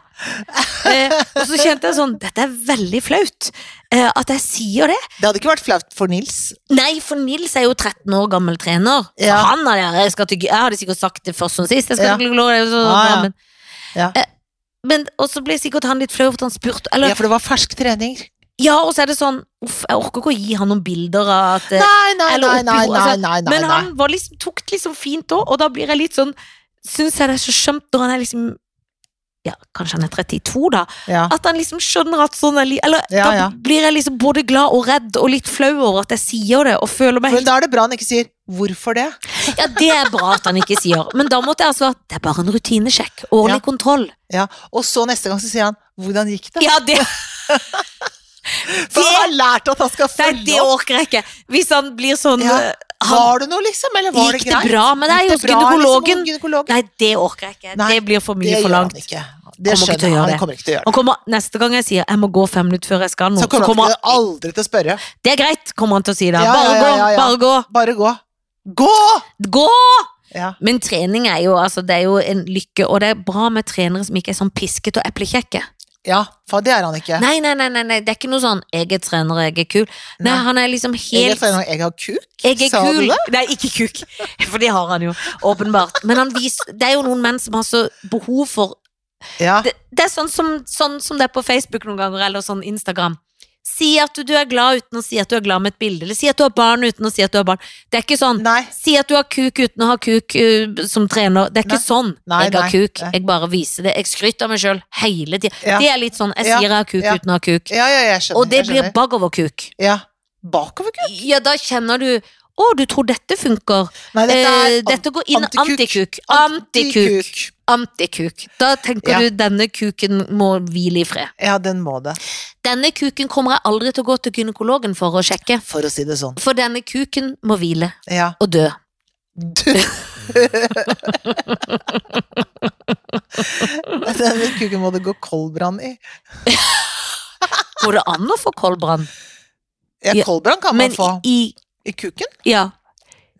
[SPEAKER 2] Eh, og så kjente jeg sånn Dette er veldig flaut. Eh, at jeg sier det.
[SPEAKER 1] Det hadde ikke vært flaut for Nils.
[SPEAKER 2] Nei, for Nils er jo 13 år gammel trener. Så
[SPEAKER 1] Ja.
[SPEAKER 2] Han er der, jeg, skal til, gy- jeg hadde sikkert sagt det først som sist. Jeg skal
[SPEAKER 1] Ja.
[SPEAKER 2] til gynekologen, så,
[SPEAKER 1] Ah, ja.
[SPEAKER 2] Men,
[SPEAKER 1] Ja.
[SPEAKER 2] Eh, men, og så ble sikkert han litt flau for at han spurte. Eller,
[SPEAKER 1] Ja, for det var fersk trening.
[SPEAKER 2] Ja, og så er det sånn Uff, jeg orker ikke å gi han noen bilder av at eh,
[SPEAKER 1] Nei, nei,
[SPEAKER 2] eller
[SPEAKER 1] nei,
[SPEAKER 2] oppi
[SPEAKER 1] nei,
[SPEAKER 2] ho-
[SPEAKER 1] nei,
[SPEAKER 2] altså,
[SPEAKER 1] nei, nei,
[SPEAKER 2] Men han var liksom, tok det liksom fint òg, og da blir jeg litt sånn Syns jeg det er så skjønt når han er liksom Ja, kanskje han er 32, da.
[SPEAKER 1] Ja.
[SPEAKER 2] At han liksom skjønner at sånn er li Eller
[SPEAKER 1] Ja,
[SPEAKER 2] da
[SPEAKER 1] ja.
[SPEAKER 2] blir jeg liksom både glad og redd og litt flau over at jeg sier det, og føler meg
[SPEAKER 1] Men
[SPEAKER 2] helt
[SPEAKER 1] da er det bra han ikke sier 'hvorfor det'?
[SPEAKER 2] Ja, det er bra at han ikke sier. Men da måtte jeg ha svart det er bare en rutinesjekk. Årlig
[SPEAKER 1] Ja.
[SPEAKER 2] kontroll.
[SPEAKER 1] Ja. Og så neste gang så sier han 'hvordan gikk det'?
[SPEAKER 2] Ja, det,
[SPEAKER 1] For han
[SPEAKER 2] det-
[SPEAKER 1] har lært at han skal
[SPEAKER 2] nei, det
[SPEAKER 1] følge opp.
[SPEAKER 2] orker jeg ikke. Hvis han blir sånn
[SPEAKER 1] Ja.
[SPEAKER 2] eh, han,
[SPEAKER 1] Var det noe, liksom? Eller var
[SPEAKER 2] Gikk
[SPEAKER 1] det
[SPEAKER 2] det
[SPEAKER 1] greit?
[SPEAKER 2] bra med deg
[SPEAKER 1] Gikk det
[SPEAKER 2] hos
[SPEAKER 1] bra, liksom,
[SPEAKER 2] gynekologen?
[SPEAKER 1] hos gynekologen?
[SPEAKER 2] Nei, det orker jeg ikke.
[SPEAKER 1] Nei,
[SPEAKER 2] det blir for
[SPEAKER 1] det
[SPEAKER 2] mye for
[SPEAKER 1] gjør han
[SPEAKER 2] langt.
[SPEAKER 1] ikke. Det
[SPEAKER 2] Kommer ikke til å
[SPEAKER 1] skjønner
[SPEAKER 2] gjøre
[SPEAKER 1] han.
[SPEAKER 2] det.
[SPEAKER 1] Han kommer ikke til å gjøre det.
[SPEAKER 2] Han kommer, neste gang jeg sier 'jeg må gå fem minutter før jeg skal noe',
[SPEAKER 1] Så kommer han til- aldri til å spørre.
[SPEAKER 2] Det er greit, kommer han til å si da.
[SPEAKER 1] Ja,
[SPEAKER 2] Bare
[SPEAKER 1] ja, ja, ja, ja.
[SPEAKER 2] gå, bare gå.
[SPEAKER 1] Bare gå. Gå!
[SPEAKER 2] Gå!
[SPEAKER 1] Ja.
[SPEAKER 2] Men trening er jo, altså, det er jo en lykke, og det er bra med trenere som ikke er sånn pisket og eplekjekke.
[SPEAKER 1] ja, for det er han ikke.
[SPEAKER 2] Nei, nei, nei, nei, nei, det er ikke noe sånn 'jeg er trener, jeg er kul'. Nei,
[SPEAKER 1] Nei.
[SPEAKER 2] han er liksom
[SPEAKER 1] Jeg, er
[SPEAKER 2] helt
[SPEAKER 1] trener, jeg har kuk.
[SPEAKER 2] Jeg er
[SPEAKER 1] Sa du
[SPEAKER 2] kul. Nei, ikke kuk, for det har han jo, åpenbart. Men han vis, det er jo noen menn som har så behov for
[SPEAKER 1] Ja.
[SPEAKER 2] Det, det er sånn som, sånn som det er på Facebook noen ganger, eller sånn Instagram. Si at du, du er glad uten å si at du er glad med et bilde, eller si at du har barn uten å si at du har barn. Det er ikke sånn.
[SPEAKER 1] Nei.
[SPEAKER 2] Si at du har kuk uten å ha kuk eh, som trener. Det er ikke
[SPEAKER 1] Nei.
[SPEAKER 2] sånn.
[SPEAKER 1] Nei,
[SPEAKER 2] jeg har
[SPEAKER 1] nei,
[SPEAKER 2] kuk,
[SPEAKER 1] nei.
[SPEAKER 2] jeg bare viser det. Jeg skryter av meg sjøl hele tida.
[SPEAKER 1] Ja.
[SPEAKER 2] Det er litt sånn. Jeg
[SPEAKER 1] Ja,
[SPEAKER 2] sier jeg har kuk
[SPEAKER 1] ja.
[SPEAKER 2] uten å ha kuk.
[SPEAKER 1] Ja, ja, jeg skjønner.
[SPEAKER 2] Og det
[SPEAKER 1] jeg
[SPEAKER 2] blir
[SPEAKER 1] skjønner.
[SPEAKER 2] bakoverkuk.
[SPEAKER 1] Ja. Bakoverkuk?
[SPEAKER 2] Ja, da kjenner du Å, du tror dette funker.
[SPEAKER 1] Nei, dette er
[SPEAKER 2] eh, dette går inn
[SPEAKER 1] antikuk.
[SPEAKER 2] antikuk. Antikuk.
[SPEAKER 1] antikuk.
[SPEAKER 2] Antikuk. Da tenker
[SPEAKER 1] Ja.
[SPEAKER 2] du denne kuken må hvile i fred.
[SPEAKER 1] Ja, den må det.
[SPEAKER 2] Denne kuken kommer jeg aldri til å gå til gynekologen for å sjekke.
[SPEAKER 1] For å si det sånn.
[SPEAKER 2] For denne kuken må hvile
[SPEAKER 1] Ja.
[SPEAKER 2] og dø.
[SPEAKER 1] Denne kuken må det gå koldbrann i.
[SPEAKER 2] Går det an å få koldbrann?
[SPEAKER 1] Ja,
[SPEAKER 2] Ja,
[SPEAKER 1] koldbrann kan man
[SPEAKER 2] Men
[SPEAKER 1] få.
[SPEAKER 2] i,
[SPEAKER 1] I kuken?
[SPEAKER 2] Ja.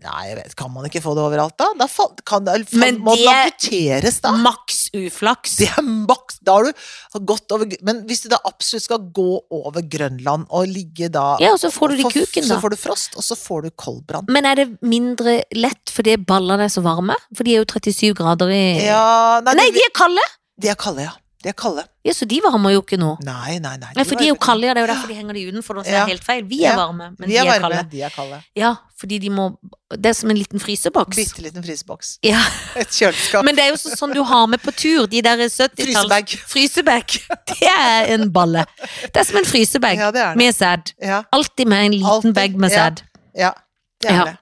[SPEAKER 1] Nei, jeg vet, kan man ikke få det overalt da? Da fa- kan det, fa-
[SPEAKER 2] Men
[SPEAKER 1] må det
[SPEAKER 2] det-
[SPEAKER 1] amputeres da.
[SPEAKER 2] Maks uflaks.
[SPEAKER 1] Det er maks. Da har du gått over gr- Men hvis du da absolutt skal gå over Grønland og ligge da
[SPEAKER 2] Ja, og så får du det i
[SPEAKER 1] for-
[SPEAKER 2] kuken,
[SPEAKER 1] Så
[SPEAKER 2] da.
[SPEAKER 1] får du frost, og så får du koldbrann.
[SPEAKER 2] Men er det mindre lett fordi ballene er så varme? For de er jo 37 grader i
[SPEAKER 1] Ja Nei,
[SPEAKER 2] Eh. Nei,
[SPEAKER 1] de,
[SPEAKER 2] de er kalde!
[SPEAKER 1] de er kalde, ja. De er kalde.
[SPEAKER 2] Ja, så de varmer jo ikke nå.
[SPEAKER 1] Nei, nei, nei.
[SPEAKER 2] Nei, for de er jo
[SPEAKER 1] varme.
[SPEAKER 2] kalde, ja. Det er jo derfor de henger de utenfor. Det
[SPEAKER 1] Ja.
[SPEAKER 2] er helt feil. Vi er
[SPEAKER 1] Ja.
[SPEAKER 2] varme, men
[SPEAKER 1] de er, varme,
[SPEAKER 2] kalde.
[SPEAKER 1] de er kalde.
[SPEAKER 2] Ja, fordi de må Det er som en liten fryseboks.
[SPEAKER 1] Bitte liten fryseboks.
[SPEAKER 2] Ja.
[SPEAKER 1] Et kjøleskap.
[SPEAKER 2] Men det er jo så- sånn du har med på tur, de der 70-talls
[SPEAKER 1] Frysebag.
[SPEAKER 2] Frysebag. Det er en balle. Det er som en frysebag
[SPEAKER 1] Ja, det er det.
[SPEAKER 2] med sæd.
[SPEAKER 1] Ja,
[SPEAKER 2] Alltid med en liten
[SPEAKER 1] Alltid,
[SPEAKER 2] bag med
[SPEAKER 1] ja.
[SPEAKER 2] sæd.
[SPEAKER 1] ja, det er
[SPEAKER 2] Ja.
[SPEAKER 1] det.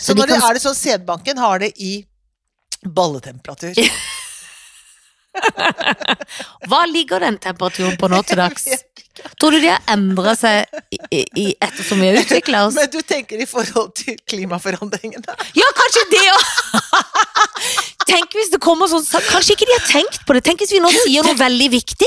[SPEAKER 1] Så,
[SPEAKER 2] Så de
[SPEAKER 1] når det
[SPEAKER 2] kan-
[SPEAKER 1] er det sånn sædbanken har det i balletemperatur.
[SPEAKER 2] Hva ligger den temperaturen på nå til dags?
[SPEAKER 1] Jeg
[SPEAKER 2] Tror du de har endra seg i, i- i, ettersom vi har utvikla oss?
[SPEAKER 1] Men du tenker i forhold til klimaforandringene.
[SPEAKER 2] Ja, kanskje det òg! Tenk hvis det kommer sånn sa- Kanskje ikke de har tenkt på det. Tenk hvis vi nå sier noe veldig viktig.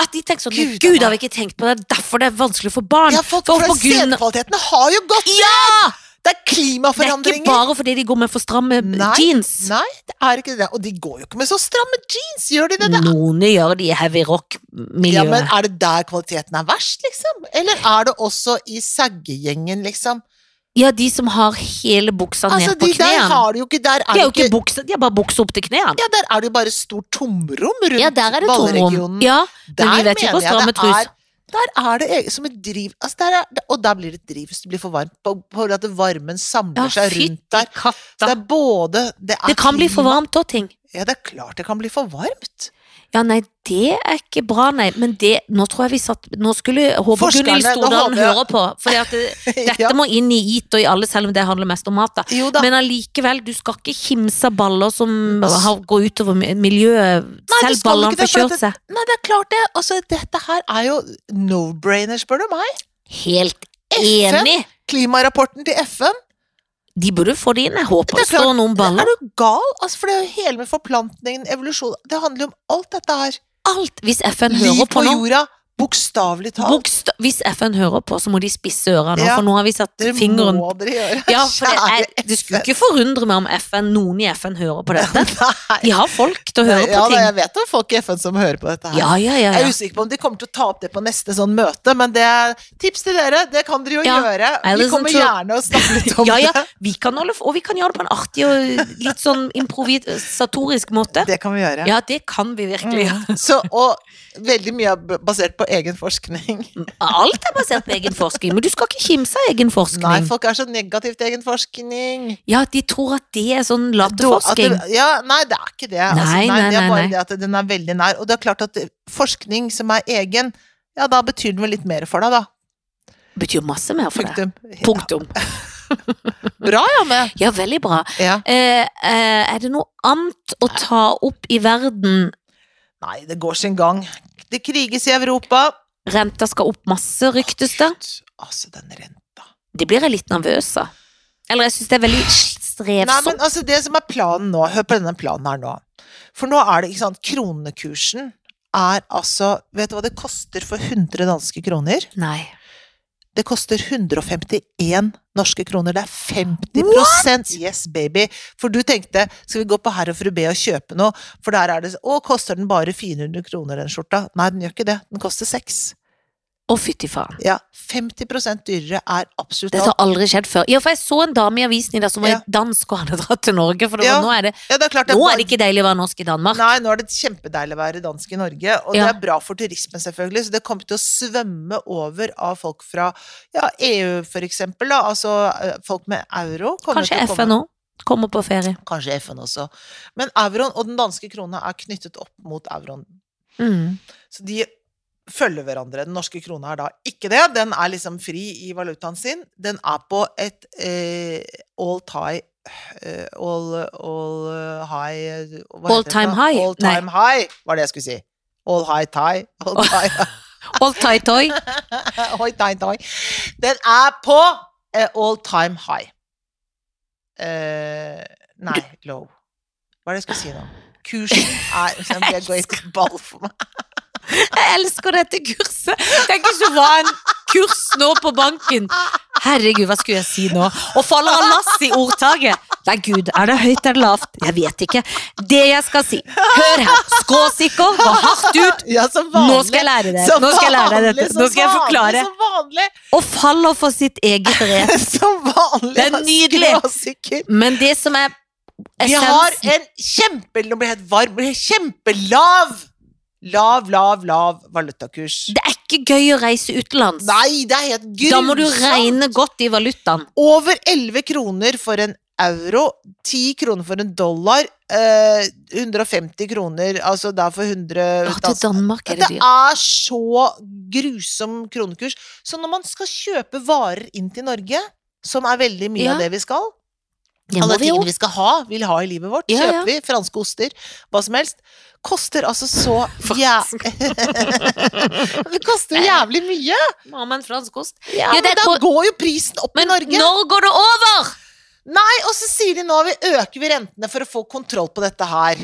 [SPEAKER 2] At de tenker sånn
[SPEAKER 1] Gud,
[SPEAKER 2] Gud, har vi ikke tenkt på det. Det er Derfor det er vanskelig for barn.
[SPEAKER 1] Ja, folk,
[SPEAKER 2] For
[SPEAKER 1] for
[SPEAKER 2] på grunn-
[SPEAKER 1] sædkvaliteten har jo gått ned! Det er
[SPEAKER 2] Det er ikke
[SPEAKER 1] klimaforandringer!
[SPEAKER 2] bare fordi de går med for stramme
[SPEAKER 1] Nei,
[SPEAKER 2] jeans.
[SPEAKER 1] Nei, det er ikke det. Og de går jo ikke med så stramme jeans, gjør de det? da?
[SPEAKER 2] Noen gjør det i heavy
[SPEAKER 1] Ja,
[SPEAKER 2] rock-miljøet.
[SPEAKER 1] men er det der kvaliteten er verst, liksom? Eller er det også i saggegjengen, liksom?
[SPEAKER 2] Ja, de som har hele buksa
[SPEAKER 1] Altså,
[SPEAKER 2] ned på
[SPEAKER 1] de der
[SPEAKER 2] knærne.
[SPEAKER 1] har det jo ikke Der er
[SPEAKER 2] De
[SPEAKER 1] det
[SPEAKER 2] har jo ikke buksa, de har bare buksa opp til knærne.
[SPEAKER 1] Ja, der er det jo bare stort tomrom rundt
[SPEAKER 2] Ja, der er det tomrom.
[SPEAKER 1] ballregionen.
[SPEAKER 2] Ja,
[SPEAKER 1] Der
[SPEAKER 2] men vi vet jo
[SPEAKER 1] mener
[SPEAKER 2] ikke å
[SPEAKER 1] jeg
[SPEAKER 2] stramme
[SPEAKER 1] det
[SPEAKER 2] trus.
[SPEAKER 1] er- Der er det e- som et driv altså der er, Og der blir det et driv hvis det blir for varmt. På, på at varmen samler
[SPEAKER 2] Ja,
[SPEAKER 1] seg rundt
[SPEAKER 2] fytti
[SPEAKER 1] der. Så det
[SPEAKER 2] katta.
[SPEAKER 1] er både Det, er
[SPEAKER 2] Det kan bli for
[SPEAKER 1] klima-
[SPEAKER 2] varmt òg, ting.
[SPEAKER 1] Ja, det er klart det kan bli for varmt.
[SPEAKER 2] Ja, nei, det er ikke bra, nei. Men det Nå tror jeg vi satt Nå skulle Håvard
[SPEAKER 1] Forskerne,
[SPEAKER 2] Gunhild
[SPEAKER 1] nå
[SPEAKER 2] Stordalen
[SPEAKER 1] håper jeg-
[SPEAKER 2] høre på. For dette
[SPEAKER 1] Ja.
[SPEAKER 2] må inn i IT og i alle, selv om det handler mest om mat, da.
[SPEAKER 1] Jo da.
[SPEAKER 2] Men allikevel, du skal ikke kimse av baller som
[SPEAKER 1] Altså-
[SPEAKER 2] har, går utover mi- miljøet.
[SPEAKER 1] Nei, du skal
[SPEAKER 2] Selv
[SPEAKER 1] ikke
[SPEAKER 2] ballene
[SPEAKER 1] det, for
[SPEAKER 2] forkjørt
[SPEAKER 1] at
[SPEAKER 2] seg.
[SPEAKER 1] Nei, det er klart det. Altså, dette her er jo no-brainer, spør du meg.
[SPEAKER 2] Helt
[SPEAKER 1] FN?
[SPEAKER 2] enig!
[SPEAKER 1] Klimarapporten til FN.
[SPEAKER 2] De burde få det inn. Jeg håper
[SPEAKER 1] Det
[SPEAKER 2] det
[SPEAKER 1] er klart,
[SPEAKER 2] står noen
[SPEAKER 1] Er
[SPEAKER 2] baller.
[SPEAKER 1] du gal? Altså, for det er jo hele med forplantningen, evolusjon Det handler jo om alt dette her.
[SPEAKER 2] Alt. Hvis FN
[SPEAKER 1] Liv
[SPEAKER 2] hører på
[SPEAKER 1] på
[SPEAKER 2] nå
[SPEAKER 1] jorda, bokstavelig talt.
[SPEAKER 2] boksta Hvis FN hører på, så må de spisse ørene,
[SPEAKER 1] Ja.
[SPEAKER 2] for nå har vi satt
[SPEAKER 1] Dere
[SPEAKER 2] fingeren
[SPEAKER 1] må dere gjøre.
[SPEAKER 2] ja, for det,
[SPEAKER 1] Kjære
[SPEAKER 2] er, det skulle ikke forundre meg om FN, noen i FN hører på dette.
[SPEAKER 1] Nei.
[SPEAKER 2] De har folk til å høre
[SPEAKER 1] ja,
[SPEAKER 2] på
[SPEAKER 1] da,
[SPEAKER 2] ting.
[SPEAKER 1] jeg vet om folk i FN som hører på dette her.
[SPEAKER 2] Ja, ja, ja.
[SPEAKER 1] Jeg
[SPEAKER 2] ja.
[SPEAKER 1] er usikker på om de kommer til å ta opp det på neste sånn møte, men det er tips til dere. Det kan dere jo
[SPEAKER 2] Ja,
[SPEAKER 1] gjøre.
[SPEAKER 2] I
[SPEAKER 1] Vi
[SPEAKER 2] listen
[SPEAKER 1] kommer
[SPEAKER 2] to-
[SPEAKER 1] gjerne og snakker litt om
[SPEAKER 2] Ja, ja,
[SPEAKER 1] det.
[SPEAKER 2] vi kan holde, f- og vi kan gjøre det på en artig og litt sånn improvisatorisk måte.
[SPEAKER 1] Det kan vi gjøre.
[SPEAKER 2] Ja, det kan vi virkelig.
[SPEAKER 1] Mm. Så, og veldig mye er b- basert på egen forskning.
[SPEAKER 2] Alt er basert på egen forskning, men du skal ikke kimse av egen forskning.
[SPEAKER 1] Nei, folk er så negative til egen forskning.
[SPEAKER 2] Ja, at de tror at det er sånn
[SPEAKER 1] Da- at
[SPEAKER 2] latterforskning.
[SPEAKER 1] det- Ja, nei, det er ikke det.
[SPEAKER 2] Nei, nei,
[SPEAKER 1] det er
[SPEAKER 2] nei,
[SPEAKER 1] bare
[SPEAKER 2] nei.
[SPEAKER 1] det at den er veldig nær. Og det er klart at forskning som er egen, ja, da betyr den vel litt mer for deg, da.
[SPEAKER 2] Betyr masse mer for deg.
[SPEAKER 1] Punktum.
[SPEAKER 2] Punktum.
[SPEAKER 1] Bra, ja, med.
[SPEAKER 2] Ja, veldig bra.
[SPEAKER 1] Ja.
[SPEAKER 2] Eh, eh, er det noe annet å ta opp i verden?
[SPEAKER 1] Nei, det går sin gang. Det kriges i Europa.
[SPEAKER 2] Renta skal opp masse, ryktes det.
[SPEAKER 1] Altså, den renta.
[SPEAKER 2] Det blir jeg litt nervøs av. Eller jeg syns det er veldig sånn.
[SPEAKER 1] Nei, men
[SPEAKER 2] strevsomt.
[SPEAKER 1] altså, det som er planen nå, hør på denne planen her nå. For nå er det, ikke sant, kronekursen er altså Vet du hva det koster for 100 danske kroner?
[SPEAKER 2] Nei.
[SPEAKER 1] Det koster 151 norske kroner. Det er 50 Yes, baby! For du tenkte, skal vi gå på Herr og Fru B og kjøpe noe? For der er det Å, koster den bare 400 kroner, den skjorta? Nei, den gjør ikke det. Den koster seks.
[SPEAKER 2] Å, fytti faen.
[SPEAKER 1] Ja. 50 dyrere er absolutt
[SPEAKER 2] Dette
[SPEAKER 1] alt.
[SPEAKER 2] har aldri skjedd før. Ja, for jeg så en dame i avisen i dag som var
[SPEAKER 1] Ja.
[SPEAKER 2] dansk og hadde dratt til Norge. For det
[SPEAKER 1] Ja.
[SPEAKER 2] var, nå, er det,
[SPEAKER 1] Ja, det er klart
[SPEAKER 2] nå
[SPEAKER 1] bare-
[SPEAKER 2] er det ikke deilig å være norsk i Danmark.
[SPEAKER 1] Nei, nå er det kjempedeilig å være dansk i Norge, og det
[SPEAKER 2] Ja.
[SPEAKER 1] er bra for turismen selvfølgelig, så det kommer til å svømme over av folk fra ja, EU for eksempel, da. altså eh, folk med euro. kommer
[SPEAKER 2] Kanskje
[SPEAKER 1] til å komme-
[SPEAKER 2] FN òg. Kommer på ferie.
[SPEAKER 1] kanskje FN også. Men euroen og den danske krona er knyttet opp mot euroen.
[SPEAKER 2] Mm.
[SPEAKER 1] Så de følger hverandre. Den norske krona er da ikke det. Den er liksom fri i valutaen sin. Den er på et eh, all tie eh, All, all eh, high eh, hva
[SPEAKER 2] All
[SPEAKER 1] heter det for noe?
[SPEAKER 2] time high?
[SPEAKER 1] All time high, var det jeg skulle si. All high tie. All tie.
[SPEAKER 2] All tight toy.
[SPEAKER 1] Oi, tie, tie. Den er på eh, all time high. Eh, nei, low. Hva er det jeg skal si nå? Kursen er Nå ble jeg går i ball for meg.
[SPEAKER 2] Jeg elsker dette kurset. Tenk ikke å være en kurs nå på banken. Herregud, hva skulle jeg si nå? Og faller av lasset i ordtaket. Nei, gud, er det høyt eller lavt? Jeg vet ikke. Det jeg skal si. Hør her. Skråsikker, gå hardt ut.
[SPEAKER 1] Ja, som vanlig.
[SPEAKER 2] Nå skal jeg lære det.
[SPEAKER 1] Som
[SPEAKER 2] Nå skal jeg lære deg
[SPEAKER 1] vanlig,
[SPEAKER 2] dette.
[SPEAKER 1] som
[SPEAKER 2] Nå skal jeg forklare.
[SPEAKER 1] Vanlig, som vanlig.
[SPEAKER 2] Og faller for sitt eget re.
[SPEAKER 1] Som vanlig.
[SPEAKER 2] Det er
[SPEAKER 1] jeg
[SPEAKER 2] nydelig.
[SPEAKER 1] skråsikker.
[SPEAKER 2] Men det som er
[SPEAKER 1] Vi har
[SPEAKER 2] essensen
[SPEAKER 1] en kjempe... Nå ble jeg helt varm. Ble jeg Kjempelav! Lav, lav, lav valutakurs.
[SPEAKER 2] Det er ikke gøy å reise utenlands.
[SPEAKER 1] Nei, det er helt grusomt.
[SPEAKER 2] Da må du regne godt i valutaen.
[SPEAKER 1] Over 11 kroner for en euro, 10 kroner for en dollar, eh, 150 kroner, altså da for 100
[SPEAKER 2] Ja, til Danmark er det dyrt.
[SPEAKER 1] er så grusom kronekurs. Så når man skal kjøpe varer inn til Norge, som er veldig mye
[SPEAKER 2] Ja.
[SPEAKER 1] av det vi skal,
[SPEAKER 2] Det må
[SPEAKER 1] alle
[SPEAKER 2] vi jo.
[SPEAKER 1] tingene vi skal ha, vil ha i livet vårt,
[SPEAKER 2] Ja, ja.
[SPEAKER 1] kjøper vi, franske oster, hva som helst, koster altså så jæ... det koster jo jævlig mye!
[SPEAKER 2] Må ha en fransk ost.
[SPEAKER 1] Ja,
[SPEAKER 2] Ja,
[SPEAKER 1] men
[SPEAKER 2] det er
[SPEAKER 1] da
[SPEAKER 2] på-
[SPEAKER 1] går jo prisen opp
[SPEAKER 2] Men
[SPEAKER 1] i Norge.
[SPEAKER 2] når går det over?
[SPEAKER 1] Nei, og så sier de nå vi øker vi rentene for å få kontroll på dette her.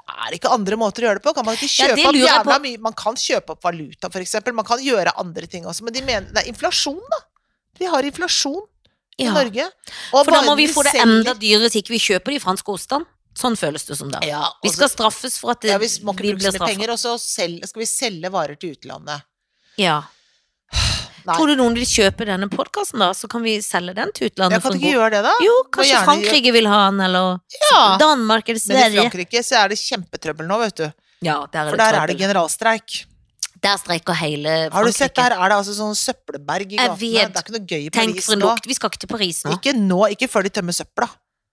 [SPEAKER 1] Det er ikke andre måter å gjøre det på. Kan man ikke
[SPEAKER 2] Ja,
[SPEAKER 1] kjøpe
[SPEAKER 2] det
[SPEAKER 1] opp
[SPEAKER 2] lurer jeg
[SPEAKER 1] jævla
[SPEAKER 2] på.
[SPEAKER 1] mye? Man kan kjøpe opp valuta, for eksempel. Man kan gjøre andre ting også, men de mener det er inflasjon, da. Vi har inflasjon i
[SPEAKER 2] Ja.
[SPEAKER 1] Norge. Og
[SPEAKER 2] For da må
[SPEAKER 1] varene
[SPEAKER 2] vi få det
[SPEAKER 1] selger-
[SPEAKER 2] enda dyrere hvis ikke vi kjøper de franske ostene. Sånn føles det som da.
[SPEAKER 1] ja, og
[SPEAKER 2] Vi
[SPEAKER 1] så-
[SPEAKER 2] skal straffes for at det,
[SPEAKER 1] ja, vi må ikke
[SPEAKER 2] vi
[SPEAKER 1] bruke
[SPEAKER 2] blir
[SPEAKER 1] så mye
[SPEAKER 2] straffet.
[SPEAKER 1] penger, og så sel- skal vi selge varer til utlandet.
[SPEAKER 2] Ja.
[SPEAKER 1] Nei.
[SPEAKER 2] Tror du noen vil kjøpe denne podkasten, da? Så kan vi selge den til utlandet.
[SPEAKER 1] Jeg kan
[SPEAKER 2] for en
[SPEAKER 1] ikke
[SPEAKER 2] god-
[SPEAKER 1] gjøre det, da.
[SPEAKER 2] Jo,
[SPEAKER 1] Må
[SPEAKER 2] kanskje
[SPEAKER 1] gjerne
[SPEAKER 2] Frankrike vil ha den, eller
[SPEAKER 1] Ja.
[SPEAKER 2] Danmark eller
[SPEAKER 1] Men i
[SPEAKER 2] Sverige.
[SPEAKER 1] Frankrike så er det kjempetrøbbel nå, vet du.
[SPEAKER 2] Ja, der er
[SPEAKER 1] For
[SPEAKER 2] det
[SPEAKER 1] der er det
[SPEAKER 2] trøbbel.
[SPEAKER 1] generalstreik.
[SPEAKER 2] Der streiker hele Frankrike.
[SPEAKER 1] Har du sett, der er det altså sånn søppelberg i
[SPEAKER 2] Jeg
[SPEAKER 1] gatene. Det
[SPEAKER 2] vet.
[SPEAKER 1] er ikke noe gøy i
[SPEAKER 2] Tenk
[SPEAKER 1] Paris
[SPEAKER 2] for en
[SPEAKER 1] nå.
[SPEAKER 2] lukt. Vi skal ikke til Paris nå.
[SPEAKER 1] Ikke nå, ikke før de tømmer søpla.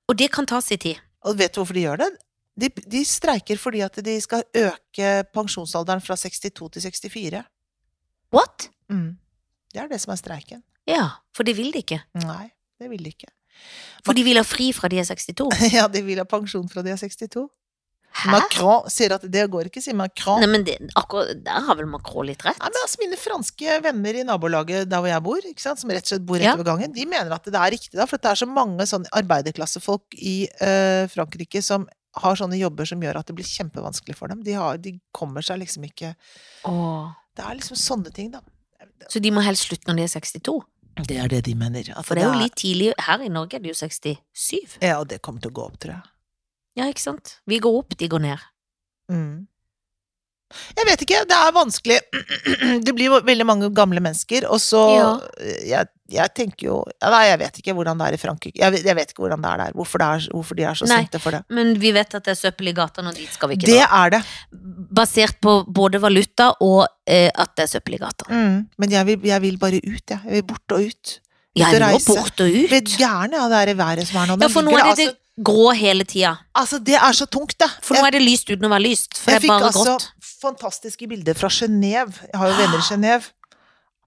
[SPEAKER 2] Og det kan ta sin tid.
[SPEAKER 1] Og vet du hvorfor de gjør det? De, de streiker fordi at de skal øke pensjonsalderen fra 62 til 64.
[SPEAKER 2] What?
[SPEAKER 1] Mm. Det er det som er streiken.
[SPEAKER 2] Ja, for det vil de ikke.
[SPEAKER 1] Nei, det vil de ikke.
[SPEAKER 2] For de vil ha fri fra de er 62.
[SPEAKER 1] Ja, de vil ha pensjon fra de er 62.
[SPEAKER 2] Hæ?
[SPEAKER 1] Macron sier at det går ikke, sier Macron.
[SPEAKER 2] Nei, men det, akkurat der har vel Macron litt rett.
[SPEAKER 1] Nei, men altså Mine franske venner i nabolaget der hvor jeg bor, ikke sant, som rett og slett bor rett
[SPEAKER 2] Ja.
[SPEAKER 1] over gangen, de mener at det er riktig, da, for at det er så mange sånne arbeiderklassefolk i eh, Frankrike som har sånne jobber som gjør at det blir kjempevanskelig for dem. De, har, de kommer seg liksom ikke
[SPEAKER 2] Åh.
[SPEAKER 1] Det er liksom sånne ting, da.
[SPEAKER 2] Så de må helst slutte når de er 62.
[SPEAKER 1] Det er det de mener. at
[SPEAKER 2] For det er jo litt tidlig. Her i Norge er det jo 67.
[SPEAKER 1] Ja, og det kommer til å gå opp, tror jeg.
[SPEAKER 2] Ja, ikke sant? Vi går opp, de går ned.
[SPEAKER 1] Mm. Jeg vet ikke, det er vanskelig. Det blir jo veldig mange gamle mennesker, og så eh,
[SPEAKER 2] Ja.
[SPEAKER 1] jeg, jeg tenker jo ja, Nei, jeg vet ikke hvordan det er i Frankrike. Jeg vet, jeg vet ikke hvordan det er der. Hvorfor, det er, hvorfor de er så
[SPEAKER 2] Nei.
[SPEAKER 1] sinte for det.
[SPEAKER 2] Men vi vet at det er søppel i gatene, og dit skal vi ikke
[SPEAKER 1] Det
[SPEAKER 2] dra.
[SPEAKER 1] er det.
[SPEAKER 2] Basert på både valuta og eh, at det er søppel i gatene.
[SPEAKER 1] Mm. Men jeg vil, jeg vil bare ut, jeg. Jeg vil bort og ut. Ut
[SPEAKER 2] Jeg
[SPEAKER 1] og
[SPEAKER 2] må
[SPEAKER 1] reise.
[SPEAKER 2] bort og
[SPEAKER 1] Jeg blir
[SPEAKER 2] ut.
[SPEAKER 1] gæren av det der været som er nå.
[SPEAKER 2] Ja,
[SPEAKER 1] Nå
[SPEAKER 2] for nå
[SPEAKER 1] ligger
[SPEAKER 2] er det
[SPEAKER 1] det,
[SPEAKER 2] det grå hele tida.
[SPEAKER 1] altså, altså, det er så tungt, det.
[SPEAKER 2] For nå er det lyst uten å være lyst. For det
[SPEAKER 1] Jeg
[SPEAKER 2] er
[SPEAKER 1] fikk
[SPEAKER 2] bare
[SPEAKER 1] altså
[SPEAKER 2] grått.
[SPEAKER 1] fantastiske bilder fra Genéve. Jeg har jo venner i Genéve.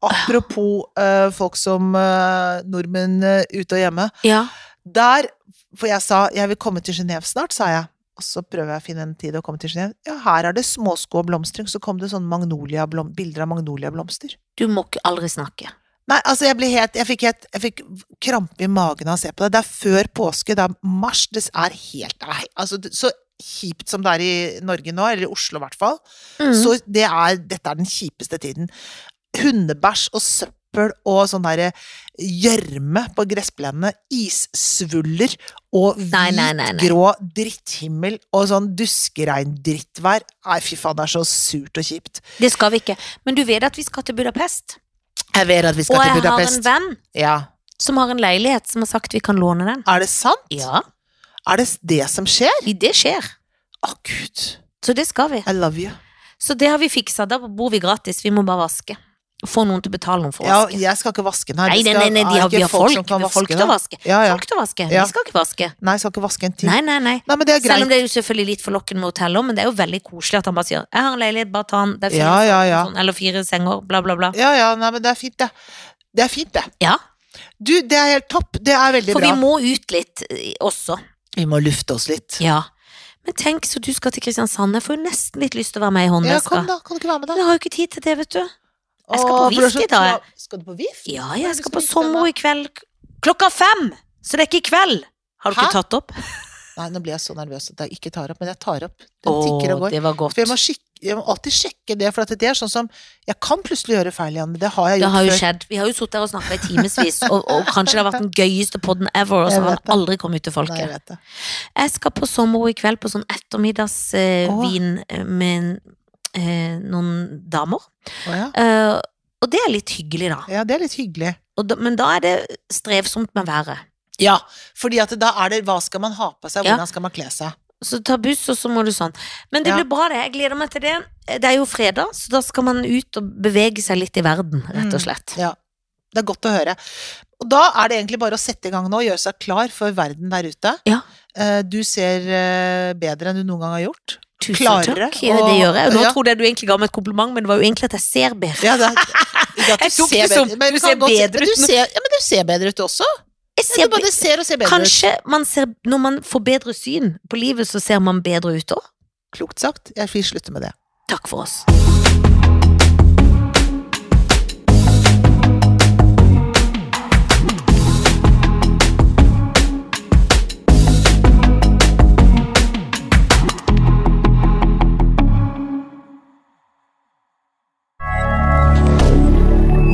[SPEAKER 1] Apropos eh, folk som eh, nordmenn eh, ute og hjemme.
[SPEAKER 2] Ja.
[SPEAKER 1] Der, for jeg sa jeg vil komme til Genéve snart, sa jeg. Og så prøver jeg å finne en tid å komme til Genéve. Ja, her er det småskå og blomstring. Så kom det sånne magnolia blom, bilder av magnoliablomster.
[SPEAKER 2] Du må ikke aldri snakke.
[SPEAKER 1] Nei, altså jeg ble helt Jeg fikk, helt, jeg fikk krampe i magen av å se på det. Det er før påske, det er mars. Det er helt nei, altså, det- Så kjipt som det er i Norge nå, eller i Oslo i hvert fall.
[SPEAKER 2] Mm.
[SPEAKER 1] Så det er, dette er den kjipeste tiden. Hundebæsj og søppel og sånn derre gjørme på gressplenene. Issvuller og
[SPEAKER 2] Nei, nei, nei, nei.
[SPEAKER 1] hvit-grå dritthimmel og sånn duskeregndrittvær. Nei, fy faen, det er så surt og kjipt.
[SPEAKER 2] Det skal vi ikke. Men du vet at vi skal til Budapest.
[SPEAKER 1] Jeg vet at vi skal
[SPEAKER 2] og
[SPEAKER 1] til
[SPEAKER 2] jeg har en
[SPEAKER 1] Budapest.
[SPEAKER 2] venn
[SPEAKER 1] Ja.
[SPEAKER 2] som har en leilighet som har sagt vi kan låne den.
[SPEAKER 1] Er det sant?
[SPEAKER 2] Ja,
[SPEAKER 1] Er det det som skjer?
[SPEAKER 2] det skjer.
[SPEAKER 1] Å, gud.
[SPEAKER 2] Så det skal vi.
[SPEAKER 1] I love you.
[SPEAKER 2] Så det har vi fiksa. Da bor vi gratis. Vi må bare vaske. Få noen til å betale noen for å
[SPEAKER 1] Ja,
[SPEAKER 2] vaske.
[SPEAKER 1] jeg skal ikke vaske den her.
[SPEAKER 2] Nei,
[SPEAKER 1] Det
[SPEAKER 2] nei,
[SPEAKER 1] skal-
[SPEAKER 2] nei, nei,
[SPEAKER 1] er
[SPEAKER 2] de har,
[SPEAKER 1] ikke
[SPEAKER 2] vi har folk.
[SPEAKER 1] som kan
[SPEAKER 2] vi har folk
[SPEAKER 1] vaske
[SPEAKER 2] til å
[SPEAKER 1] det.
[SPEAKER 2] vaske.
[SPEAKER 1] Ja, ja.
[SPEAKER 2] Folk til å vaske.
[SPEAKER 1] Ja.
[SPEAKER 2] Vi skal ikke vaske.
[SPEAKER 1] Nei, skal ikke vaske en til. Nei.
[SPEAKER 2] Nei, nei, nei.
[SPEAKER 1] men det er
[SPEAKER 2] Selv
[SPEAKER 1] greit.
[SPEAKER 2] om det er jo selvfølgelig litt forlokkende med hotell også, men det er jo veldig koselig at han bare sier 'jeg har en leilighet, bare ta den', det er fire,
[SPEAKER 1] Ja, ja, ja.
[SPEAKER 2] Sånn, eller fire senger, bla, bla, bla.
[SPEAKER 1] Ja, ja, nei, men det er fint, det. Det er fint, det.
[SPEAKER 2] Ja.
[SPEAKER 1] Du, det er helt topp. Det er veldig
[SPEAKER 2] For
[SPEAKER 1] bra.
[SPEAKER 2] vi må ut litt eh, også.
[SPEAKER 1] Vi må lufte oss litt.
[SPEAKER 2] Ja. Men tenk så du skal til Kristiansand. Jeg får jo nesten litt lyst til å være med i
[SPEAKER 1] Ja, kom
[SPEAKER 2] håndveska.
[SPEAKER 1] da. Kan du ikke være med, da?
[SPEAKER 2] Men jeg har jo ikke tid til det, vet du. Jeg skal på
[SPEAKER 1] Åh, for du er
[SPEAKER 2] VIF i
[SPEAKER 1] så
[SPEAKER 2] dag, jeg.
[SPEAKER 1] klar- Skal du på VIF?
[SPEAKER 2] Ja,
[SPEAKER 1] er
[SPEAKER 2] jeg
[SPEAKER 1] det som
[SPEAKER 2] skal på
[SPEAKER 1] er
[SPEAKER 2] sommer i kveld k- klokka fem! Så det er ikke i kveld. Har du
[SPEAKER 1] Hæ?
[SPEAKER 2] ikke tatt opp?
[SPEAKER 1] Nei, nå blir jeg så nervøs at jeg ikke tar opp, men jeg tar opp. Den tikker og går.
[SPEAKER 2] det var godt.
[SPEAKER 1] For jeg må, skik- jeg må alltid sjekke det, for at det er sånn som Jeg kan plutselig gjøre feil igjen, men det har jeg
[SPEAKER 2] Det
[SPEAKER 1] gjort
[SPEAKER 2] har jo
[SPEAKER 1] før.
[SPEAKER 2] skjedd. Vi har jo sittet her og snakka i timevis, og, og kanskje det har vært den gøyeste podden ever, og så
[SPEAKER 1] Jeg
[SPEAKER 2] har
[SPEAKER 1] vet det.
[SPEAKER 2] den aldri kommet ut til
[SPEAKER 1] Nei, jeg
[SPEAKER 2] folket.
[SPEAKER 1] vet det.
[SPEAKER 2] Jeg skal på sommer i kveld på sånn ettermiddagsvin
[SPEAKER 1] Åh.
[SPEAKER 2] vin eh, med eh, noen damer.
[SPEAKER 1] Å, ja.
[SPEAKER 2] Eh, og det er litt hyggelig, da.
[SPEAKER 1] ja, det er litt hyggelig.
[SPEAKER 2] Og da. Men da er det strevsomt med været.
[SPEAKER 1] Ja, fordi at da er det hva skal man ha på seg,
[SPEAKER 2] Ja.
[SPEAKER 1] hvordan skal man kle seg.
[SPEAKER 2] Så ta buss, og så må du sånn. Men det
[SPEAKER 1] Ja.
[SPEAKER 2] blir bra, det. Jeg gleder meg til det. Det er jo fredag, så da skal man ut og bevege seg litt i verden, rett og
[SPEAKER 1] Mm.
[SPEAKER 2] slett.
[SPEAKER 1] Ja, det er godt å høre. Og da er det egentlig bare å sette i gang nå og gjøre seg klar for verden der ute.
[SPEAKER 2] Ja.
[SPEAKER 1] Eh, Du ser eh, bedre enn du noen gang har gjort.
[SPEAKER 2] Tusen
[SPEAKER 1] Klarere,
[SPEAKER 2] takk. Ja,
[SPEAKER 1] og-
[SPEAKER 2] det gjør jeg. Og Nå
[SPEAKER 1] ja.
[SPEAKER 2] trodde jeg du egentlig ga meg et kompliment, men det var jo egentlig at jeg ser bedre.
[SPEAKER 1] Ja, det er, ikke at
[SPEAKER 2] Jeg tok det
[SPEAKER 1] ser
[SPEAKER 2] som-
[SPEAKER 1] bedre- men
[SPEAKER 2] du
[SPEAKER 1] kan
[SPEAKER 2] ser
[SPEAKER 1] godt se-
[SPEAKER 2] bedre
[SPEAKER 1] men
[SPEAKER 2] ut
[SPEAKER 1] du
[SPEAKER 2] nå.
[SPEAKER 1] ser, ja, men du ser bedre ut også.
[SPEAKER 2] Jeg
[SPEAKER 1] Ja,
[SPEAKER 2] ser
[SPEAKER 1] du både ser og ser bedre ut.
[SPEAKER 2] Kanskje man ser, når man får bedre syn på livet, så ser man bedre ut òg.
[SPEAKER 1] Klokt sagt. Jeg vil slutte med det.
[SPEAKER 2] Takk for oss.